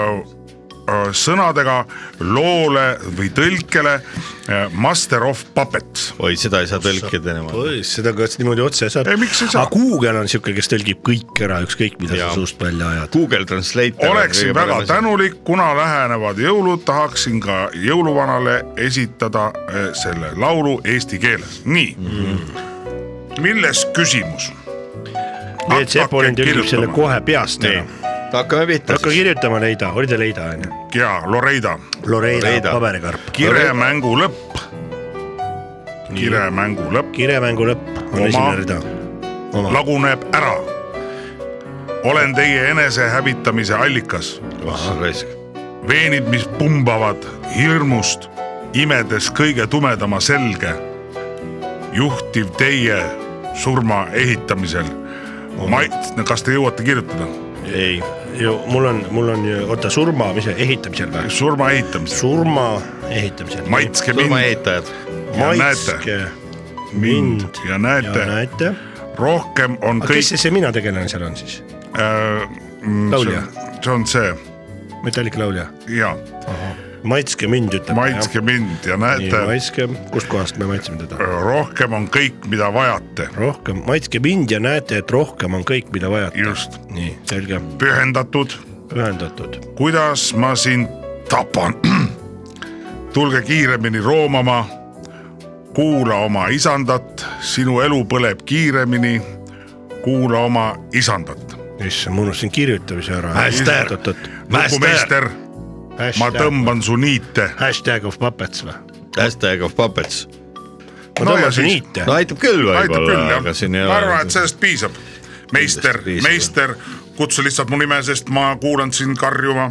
Speaker 3: öö, sõnadega loole või tõlkele öö, Master of Puppets
Speaker 1: oi , seda ei saa tõlkida enam .
Speaker 2: oi , seda kas niimoodi otse saab
Speaker 3: Ei, miks ei saa?
Speaker 2: aga Google on siuke , kes tõlgib kõik ära , ükskõik mida
Speaker 1: Jaa.
Speaker 2: sa suust välja ajad .
Speaker 1: Google Translate .
Speaker 3: oleksin väga . tänulik , kuna lähenevad jõulud , tahaksin ka jõuluvanale esitada eh, selle laulu eesti keeles , nii mm. . milles küsimus ?
Speaker 2: Leet Sepolin tõlgib selle kohe peast
Speaker 1: nii
Speaker 2: ära .,
Speaker 1: hakkame pihta
Speaker 2: hakka
Speaker 1: siis .
Speaker 2: kirjutama Leida , oli ta Leida onju ?
Speaker 3: ja Loreida ,
Speaker 2: Loreida
Speaker 1: Loreida.
Speaker 2: paberikarp .
Speaker 3: kiremängu lõpp . kiremängu lõpp
Speaker 2: kiremängu lõpp on
Speaker 3: Oma-
Speaker 2: esimene rida . oma ,
Speaker 3: laguneb ära . olen teie enesehävitamise allikas ,
Speaker 1: Ah,
Speaker 3: veenid , mis pumbavad hirmust , imedes kõige tumedama selge . juhtiv teie surma ehitamisel . ma ei , kas te jõuate kirjutada ?
Speaker 1: ei ,
Speaker 2: mul on , mul on , oota , surma , mis see , ehitamisel või ?
Speaker 3: surma ehitamisel ,
Speaker 2: surma ehitamisel .
Speaker 3: maitske mind
Speaker 1: surmaehitajad .
Speaker 3: ja näete ,
Speaker 2: maitske
Speaker 3: mind ja
Speaker 2: ja
Speaker 3: näete ,
Speaker 2: näete .
Speaker 3: rohkem on
Speaker 2: aga
Speaker 3: kõik äh, mm,
Speaker 2: kes . see , see mina tegelane seal on siis ? Laulja?
Speaker 3: see on see
Speaker 2: Metallica laulja .
Speaker 3: ja
Speaker 2: maitske mind ütleb .
Speaker 3: maitske mind ja näete ,
Speaker 2: maitske , kustkohast me maitseme teda ?
Speaker 3: rohkem on kõik , mida vajate ,
Speaker 2: rohkem , maitske mind ja näete , et rohkem on kõik , mida vajate .
Speaker 3: Just. .
Speaker 2: nii , selge .
Speaker 3: pühendatud
Speaker 2: ühendatud .
Speaker 3: kuidas ma sind tapan . tulge kiiremini roomama , kuula oma isandat , sinu elu põleb kiiremini , kuula oma isandat .
Speaker 2: issand , ma unustasin kirjutamise ära .
Speaker 4: Mäster. Mäster ,
Speaker 3: lukumeister , ma . tõmban su niite .
Speaker 2: Hashtag of puppets või ?
Speaker 1: Hashtag of puppets .
Speaker 2: ma
Speaker 3: No ja
Speaker 2: tõmban su
Speaker 3: siis-
Speaker 2: niite .
Speaker 1: no aitab küll
Speaker 3: aitab küll
Speaker 1: võib-olla ,
Speaker 3: jah
Speaker 1: aga siin , ei
Speaker 3: ma arvan , et
Speaker 1: ole .
Speaker 3: sellest piisab . meister
Speaker 1: Kindlasti , piisab, jah.
Speaker 3: meister , kutsu lihtsalt mu nime , sest ma kuulan sind karjuma .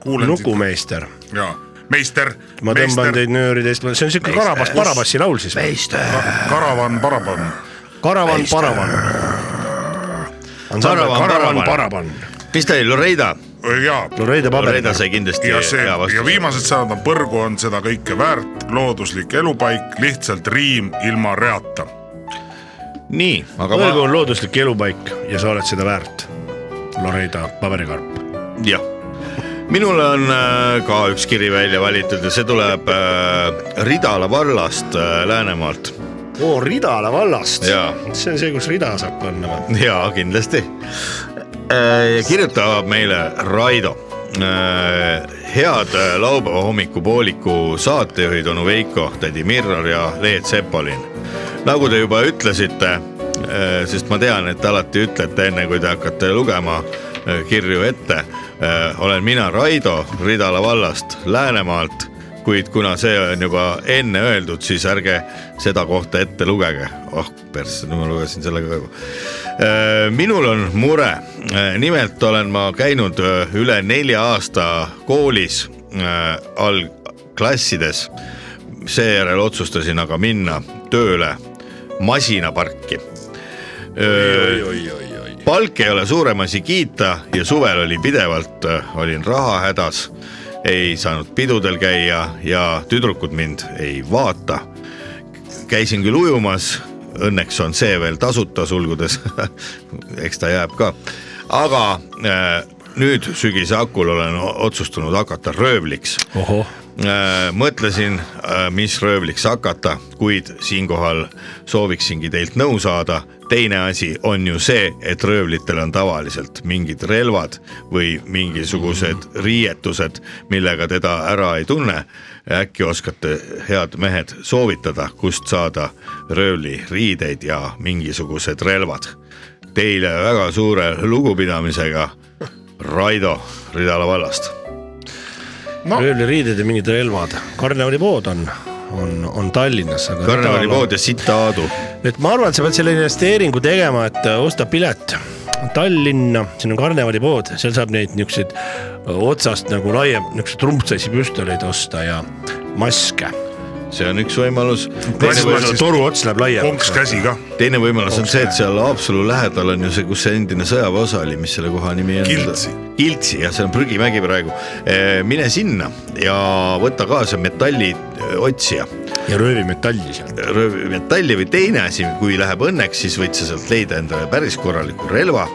Speaker 3: kuulen sind
Speaker 2: lukumeister ,
Speaker 3: ja meister ,
Speaker 2: ma tõmban
Speaker 3: meister ,
Speaker 2: teid nööridest , see on siuke Karabass , Barabassi laul siis .
Speaker 3: karavan , paravan
Speaker 2: Karavan , Paravan .
Speaker 1: Karavan,
Speaker 2: Karavan ,
Speaker 1: Paravan.
Speaker 2: Paravan .
Speaker 1: mis ta oli , Loreida ?
Speaker 3: ja
Speaker 1: Loreida
Speaker 2: Loreida Paber .
Speaker 1: sai kindlasti
Speaker 3: ja see
Speaker 1: hea
Speaker 3: ja
Speaker 1: vastuse .
Speaker 3: viimased sõnad on põrgu on seda kõike väärt , looduslik elupaik , lihtsalt riim ilma reata .
Speaker 1: nii , aga
Speaker 2: Võrgu
Speaker 1: ma ,
Speaker 2: on looduslik elupaik ja sa oled seda väärt . Loreida paberikarp .
Speaker 1: jah . minul on äh, ka üks kiri välja valitud ja see tuleb äh, Ridala vallast äh, Läänemaalt
Speaker 2: oo , Ridala vallast .
Speaker 1: Jaa.
Speaker 2: see on see , kus rida saab panna või ?
Speaker 1: jaa , kindlasti . kirjutab meile Raido . head äh, laupäeva hommikupooliku saatejuhid onu Veiko , tädi Mirror ja Leet Sepolin . nagu te juba ütlesite , sest ma tean , et te alati ütlete , enne kui te hakkate lugema äh, kirju ette , olen mina Raido Ridala vallast Läänemaalt kuid kuna see on juba enne öeldud , siis ärge seda kohta ette lugege . oh persse , nüüd ma lugesin selle ka juba . minul on mure , nimelt olen ma käinud öö, üle nelja aasta koolis äh, öö, algklassides . seejärel otsustasin aga minna tööle masinaparki . Äh, palk ei ole suurem asi kiita ja suvel oli pidevalt , olin rahahädas , ei saanud pidudel käia ja tüdrukud mind ei vaata . käisin küll ujumas , õnneks on see veel tasuta sulgudes , eks ta jääb ka , aga äh, nüüd sügise hakul olen o- otsustanud hakata röövliks
Speaker 2: ohoh ,
Speaker 1: Äh, mõtlesin , mis röövliks hakata , kuid siinkohal sooviksingi teilt nõu saada . teine asi on ju see , et röövlitel on tavaliselt mingid relvad või mingisugused riietused , millega teda ära ei tunne . äkki oskate , head mehed , soovitada , kust saada röövliriideid ja mingisugused relvad . Teile väga suure lugupidamisega , Raido Ridala vallast
Speaker 2: röövliriided ja mingid relvad . karnevalipood on , on , on Tallinnas .
Speaker 1: karnevalipood ja sita Aadu .
Speaker 2: et ma arvan , et sa pead selle investeeringu tegema , et äh, osta pilet Tallinna , siin on karnevalipood , seal saab neid niisuguseid otsast nagu laiem , niisuguseid trumpsaisi püstoleid osta ja maske .
Speaker 1: see on üks võimalus . teine
Speaker 3: Klass-
Speaker 1: võimalus ,
Speaker 2: toru ots läheb laiemaks .
Speaker 3: konks käsi ka ,
Speaker 1: teine võimalus
Speaker 2: Oh.
Speaker 1: on see , et seal Haapsalu lähedal on ju see , kus see endine sõjaväeosa oli , mis selle koha nimi on ?
Speaker 3: Kiltsi. .
Speaker 1: Kiltsi , jah , see on prügimägi praegu . mine sinna ja võta kaasa eh, metalliotsija ,
Speaker 2: ja röövimetalli seal .
Speaker 1: röövmetalli või teine asi , kui läheb õnneks , siis võid sa sealt leida endale päris korraliku relva .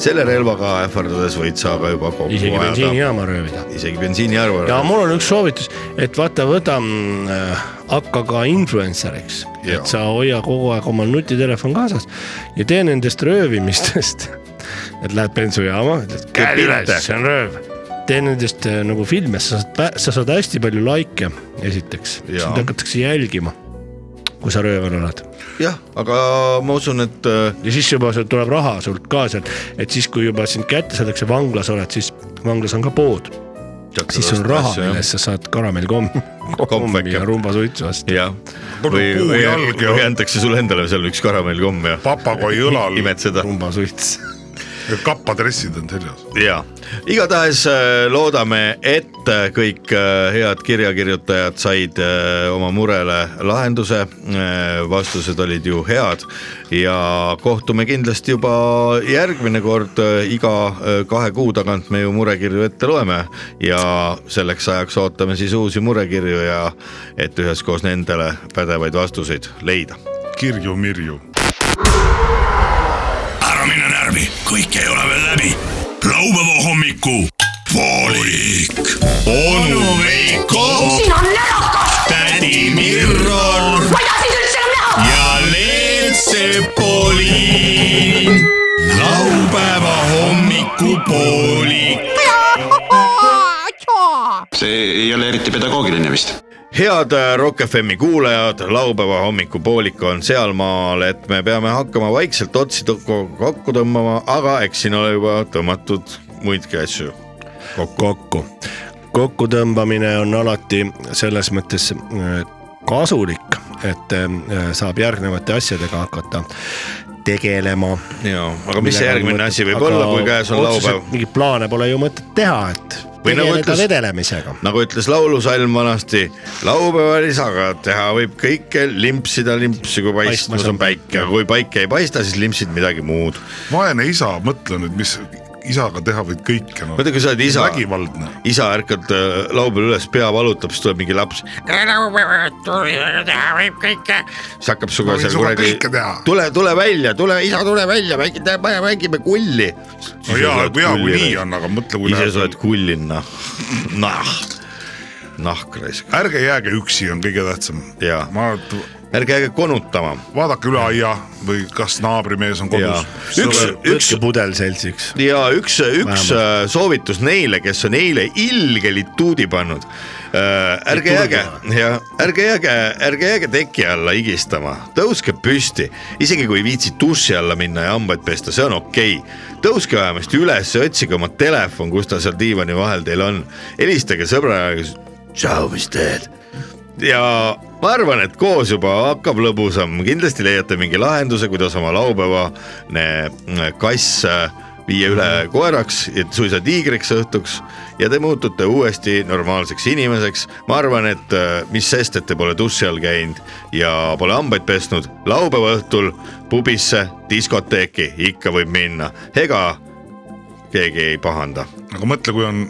Speaker 1: selle relvaga ähvardades võid sa aga juba kokku
Speaker 2: isegi
Speaker 1: ajada
Speaker 2: bensiinijaama röövida .
Speaker 1: isegi bensiiniarve
Speaker 2: ja . mul on üks soovitus , et vaata , võta , hakka ka influenceriks ,
Speaker 1: Jaa.
Speaker 2: et sa hoia kogu aeg oma nutitelefon kaasas ja tee nendest röövimistest . et lähed bensujaama , ütled käed üles , see on rööv . tee nendest äh, nagu filme , sa saad , sa saad hästi palju likee , esiteks ,
Speaker 1: Jaa.
Speaker 2: sind hakatakse jälgima kui sa röövel oled
Speaker 1: jah , aga ma usun , et äh,
Speaker 2: ja siis juba sealt tuleb raha sult ka sealt , et siis , kui juba sind kätte saadakse , vanglas oled , siis vanglas on ka pood , siis on raha ,
Speaker 1: Asju, jah.
Speaker 2: millest sa saad karamellkommi , kommi ja
Speaker 1: Kompveke.
Speaker 2: rumbasuitsu osta .
Speaker 1: jah ,
Speaker 3: Mul on
Speaker 1: või ,
Speaker 3: puu
Speaker 1: või
Speaker 3: jalg ja-
Speaker 1: või antakse sulle endale seal üks karamellkomm ja
Speaker 3: papagoi õlal
Speaker 1: imetseda
Speaker 2: rumbasuits .
Speaker 3: kappadressid on seljas .
Speaker 1: ja igatahes äh, loodame , et äh, kõik äh, head kirjakirjutajad said äh, oma murele lahenduse . vastused olid ju head ja kohtume kindlasti juba järgmine kord , iga äh, kahe kuu tagant me ju murekirju ette loeme ja selleks ajaks ootame siis uusi murekirju ja et üheskoos nendele pädevaid vastuseid leida .
Speaker 3: kirju-mirju
Speaker 5: ära mine närvi , kõik ei ole veel läbi . laupäeva hommiku poolik . onu Veiko ,
Speaker 6: siin on närakas ,
Speaker 5: tädi Mirror
Speaker 6: ma ei taha sind üldse enam näha .
Speaker 5: ja Leet Sepolin . laupäeva hommiku poolik .
Speaker 6: mina
Speaker 9: see ei ole eriti pedagoogiline vist .
Speaker 1: head äh, Rock FM-i kuulajad , laupäeva hommikupoolik on sealmaal , et me peame hakkama vaikselt otsi tõ- ko- kokku tõmbama , aga eks siin ole juba tõmmatud muidki asju .
Speaker 2: kokku . kokkutõmbamine on alati selles mõttes äh, kasulik , et äh, saab järgnevate asjadega hakata tegelema .
Speaker 1: ja , aga mis see järgmine asi võib olla , kui käes on laupäev ?
Speaker 2: mingeid plaane pole ju mõtet teha , et
Speaker 1: Või nagu
Speaker 2: tegeleda
Speaker 1: ütles-
Speaker 2: vedelemisega .
Speaker 1: nagu ütles laulusalm vanasti , laupäeval isaga teha võib kõike , limpsida limpsi , kui paistmas on päike , aga kui päike ei paista , siis limpsid midagi muud .
Speaker 3: vaene isa , mõtle nüüd , mis isaga teha võid kõike no. .
Speaker 1: mõtle , kui sa oled isa ,
Speaker 3: vägivaldne .
Speaker 1: isa ärkad äh, laupäeval üles , pea valutab , siis tuleb mingi laps , siis hakkab
Speaker 3: Ma
Speaker 1: sinuga
Speaker 3: võin
Speaker 1: seal
Speaker 3: sinuga
Speaker 1: kuradi
Speaker 3: kõike teha. ,
Speaker 1: tule , tule välja , tule , isa , tule välja , mängi , mängime kulli .
Speaker 3: no hea , hea kui nii on , aga mõtle , kui
Speaker 1: ise sa
Speaker 3: läheb
Speaker 1: oled . kullinna , nah , nahk noh, raisk ,
Speaker 3: nagu- ärge jääge üksi , on kõige tähtsam .
Speaker 1: Jaa.
Speaker 3: ma ,
Speaker 1: ärge jääge konutama
Speaker 3: vaadake üle aia või kas naabrimees on
Speaker 1: ja
Speaker 3: kodus .
Speaker 1: üks , üks
Speaker 2: võtke pudel seltsiks .
Speaker 1: ja üks , üks äh, soovitus neile , kes on eile ilge lituudi pannud . ärge jääge ja ärge jääge , ärge jääge teki alla higistama , tõuske püsti , isegi kui ei viitsi duši alla minna ja hambaid pesta , see on okei okay. . tõuske vähemasti üles , otsige oma telefon , kus ta seal diivani vahel teil on , helistage sõbrale , tšau , mis teed ja ma arvan , et koos juba hakkab lõbusam , kindlasti leiate mingi lahenduse , kuidas oma laupäevane kass äh, viia üle koeraks , et suisa tiigriks õhtuks ja te muutute uuesti normaalseks inimeseks . ma arvan , et äh, mis sest , et te pole duši all käinud ja pole hambaid pesnud , laupäeva õhtul pubisse , diskoteeki ikka võib minna , ega keegi ei pahanda .
Speaker 3: aga mõtle , kui on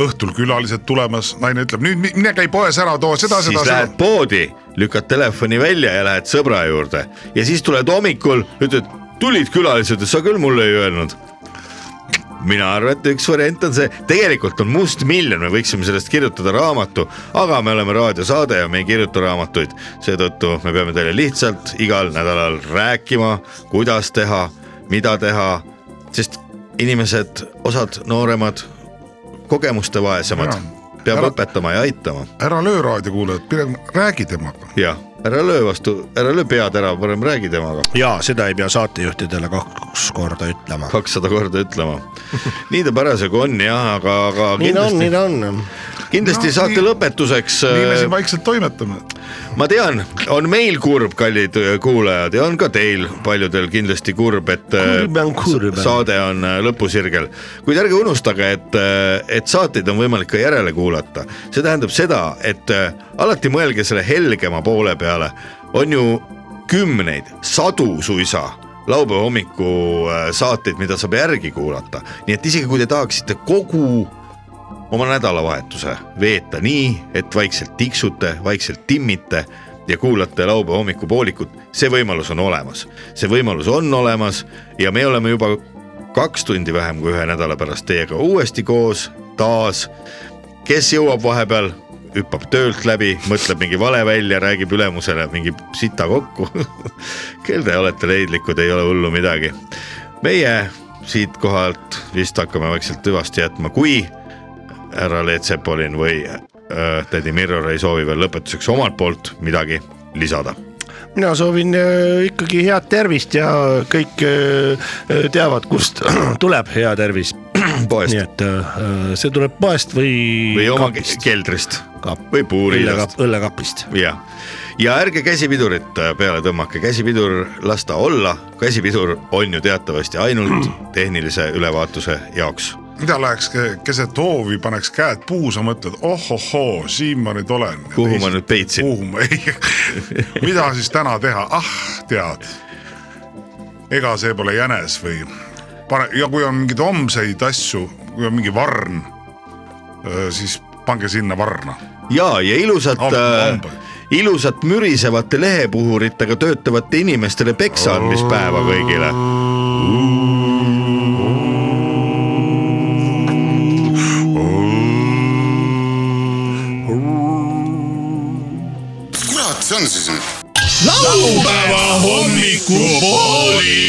Speaker 3: õhtul külalised tulemas , naine ütleb nüüd mi- mine käi poes ära , too seda ,
Speaker 1: siis
Speaker 3: seda ,
Speaker 1: lähed
Speaker 3: seda .
Speaker 1: poodi , lükkad telefoni välja ja lähed sõbra juurde ja siis tuled hommikul , ütled , tulid külalised , sa küll mulle ei öelnud . mina arvan , et üks variant on see , tegelikult on mustmiljon , me võiksime sellest kirjutada raamatu , aga me oleme raadiosaade ja me ei kirjuta raamatuid , seetõttu me peame teile lihtsalt igal nädalal rääkima , kuidas teha , mida teha , sest inimesed , osad nooremad , kogemuste vaesemad
Speaker 3: Jaa. ,
Speaker 1: peab
Speaker 3: Ära-
Speaker 1: õpetama ja aitama
Speaker 3: ära löö raadiokuulajat , pigem räägi temaga .
Speaker 1: jah , ära löö vastu , ära löö pead ära , parem räägi temaga .
Speaker 2: ja seda ei pea saatejuhtidele kaks korda ütlema .
Speaker 1: kakssada korda ütlema . nii ta parasjagu on jah , aga , aga
Speaker 2: nii ta on , nii
Speaker 1: kindlasti ,
Speaker 2: ta on .
Speaker 1: kindlasti
Speaker 3: No,
Speaker 1: no, saate
Speaker 3: nii-
Speaker 1: nii, lõpetuseks . äh,
Speaker 3: nii me siin vaikselt toimetame .
Speaker 1: ma tean , on meil kurb , kallid äh, kuulajad ja on ka teil paljudel kindlasti kurb , et
Speaker 2: Kurb
Speaker 1: äh,
Speaker 2: on kurb.
Speaker 1: saade on äh, lõpusirgel . kuid ärge unustage , et , et saateid on võimalik ka järele kuulata , see tähendab seda , et äh, alati mõelge selle helgema poole peale , on ju kümneid , sadu suisa laupäeva hommiku äh, saateid , mida saab järgi kuulata , nii et isegi kui te tahaksite kogu oma nädalavahetuse veeta nii , et vaikselt tiksute , vaikselt timmite ja kuulate laupäeva hommikupoolikut , see võimalus on olemas . see võimalus on olemas ja me oleme juba kaks tundi vähem kui ühe nädala pärast teiega uuesti koos taas . kes jõuab vahepeal , hüppab töölt läbi , mõtleb mingi vale välja , räägib ülemusele mingi sita kokku . küll te olete leidlikud , ei ole hullu midagi . meie siitkohalt vist hakkame vaikselt hüvasti jätma , kui härra Leet Sepolin või äh, tädi Mirror ei soovi veel lõpetuseks omalt poolt midagi lisada .
Speaker 2: mina soovin äh, ikkagi head tervist ja kõik äh, äh, teavad , kust tuleb hea tervis .
Speaker 1: poest
Speaker 2: nii et äh, see tuleb poest või .
Speaker 1: või oma ke- keldrist
Speaker 2: Kap-
Speaker 1: või puuriilast
Speaker 2: õllekapist .
Speaker 1: ja , ja ärge käsipidurit äh, peale tõmmake , käsipidur las ta olla , käsipidur on ju teatavasti ainult tehnilise ülevaatuse jaoks .
Speaker 3: mida läheks ke- keset hoovi , paneks käed puusa , mõtled ohohoo , siin ma nüüd olen .
Speaker 1: Kuhu ma nüüd peitsin?
Speaker 3: kuhu ma , ei , mida siis täna teha , ah tead . ega see pole jänes või pane ja kui on mingeid homseid asju , kui on mingi varn , siis pange sinna varna .
Speaker 1: ja , ja ilusat äh,
Speaker 3: Amb- , hambaid.
Speaker 1: ilusat mürisevate lehepuhuritega töötavate inimestele peksa andmispäeva kõigile
Speaker 7: kurat see on siis nüüd ?
Speaker 8: laupäeva hommikupoolik .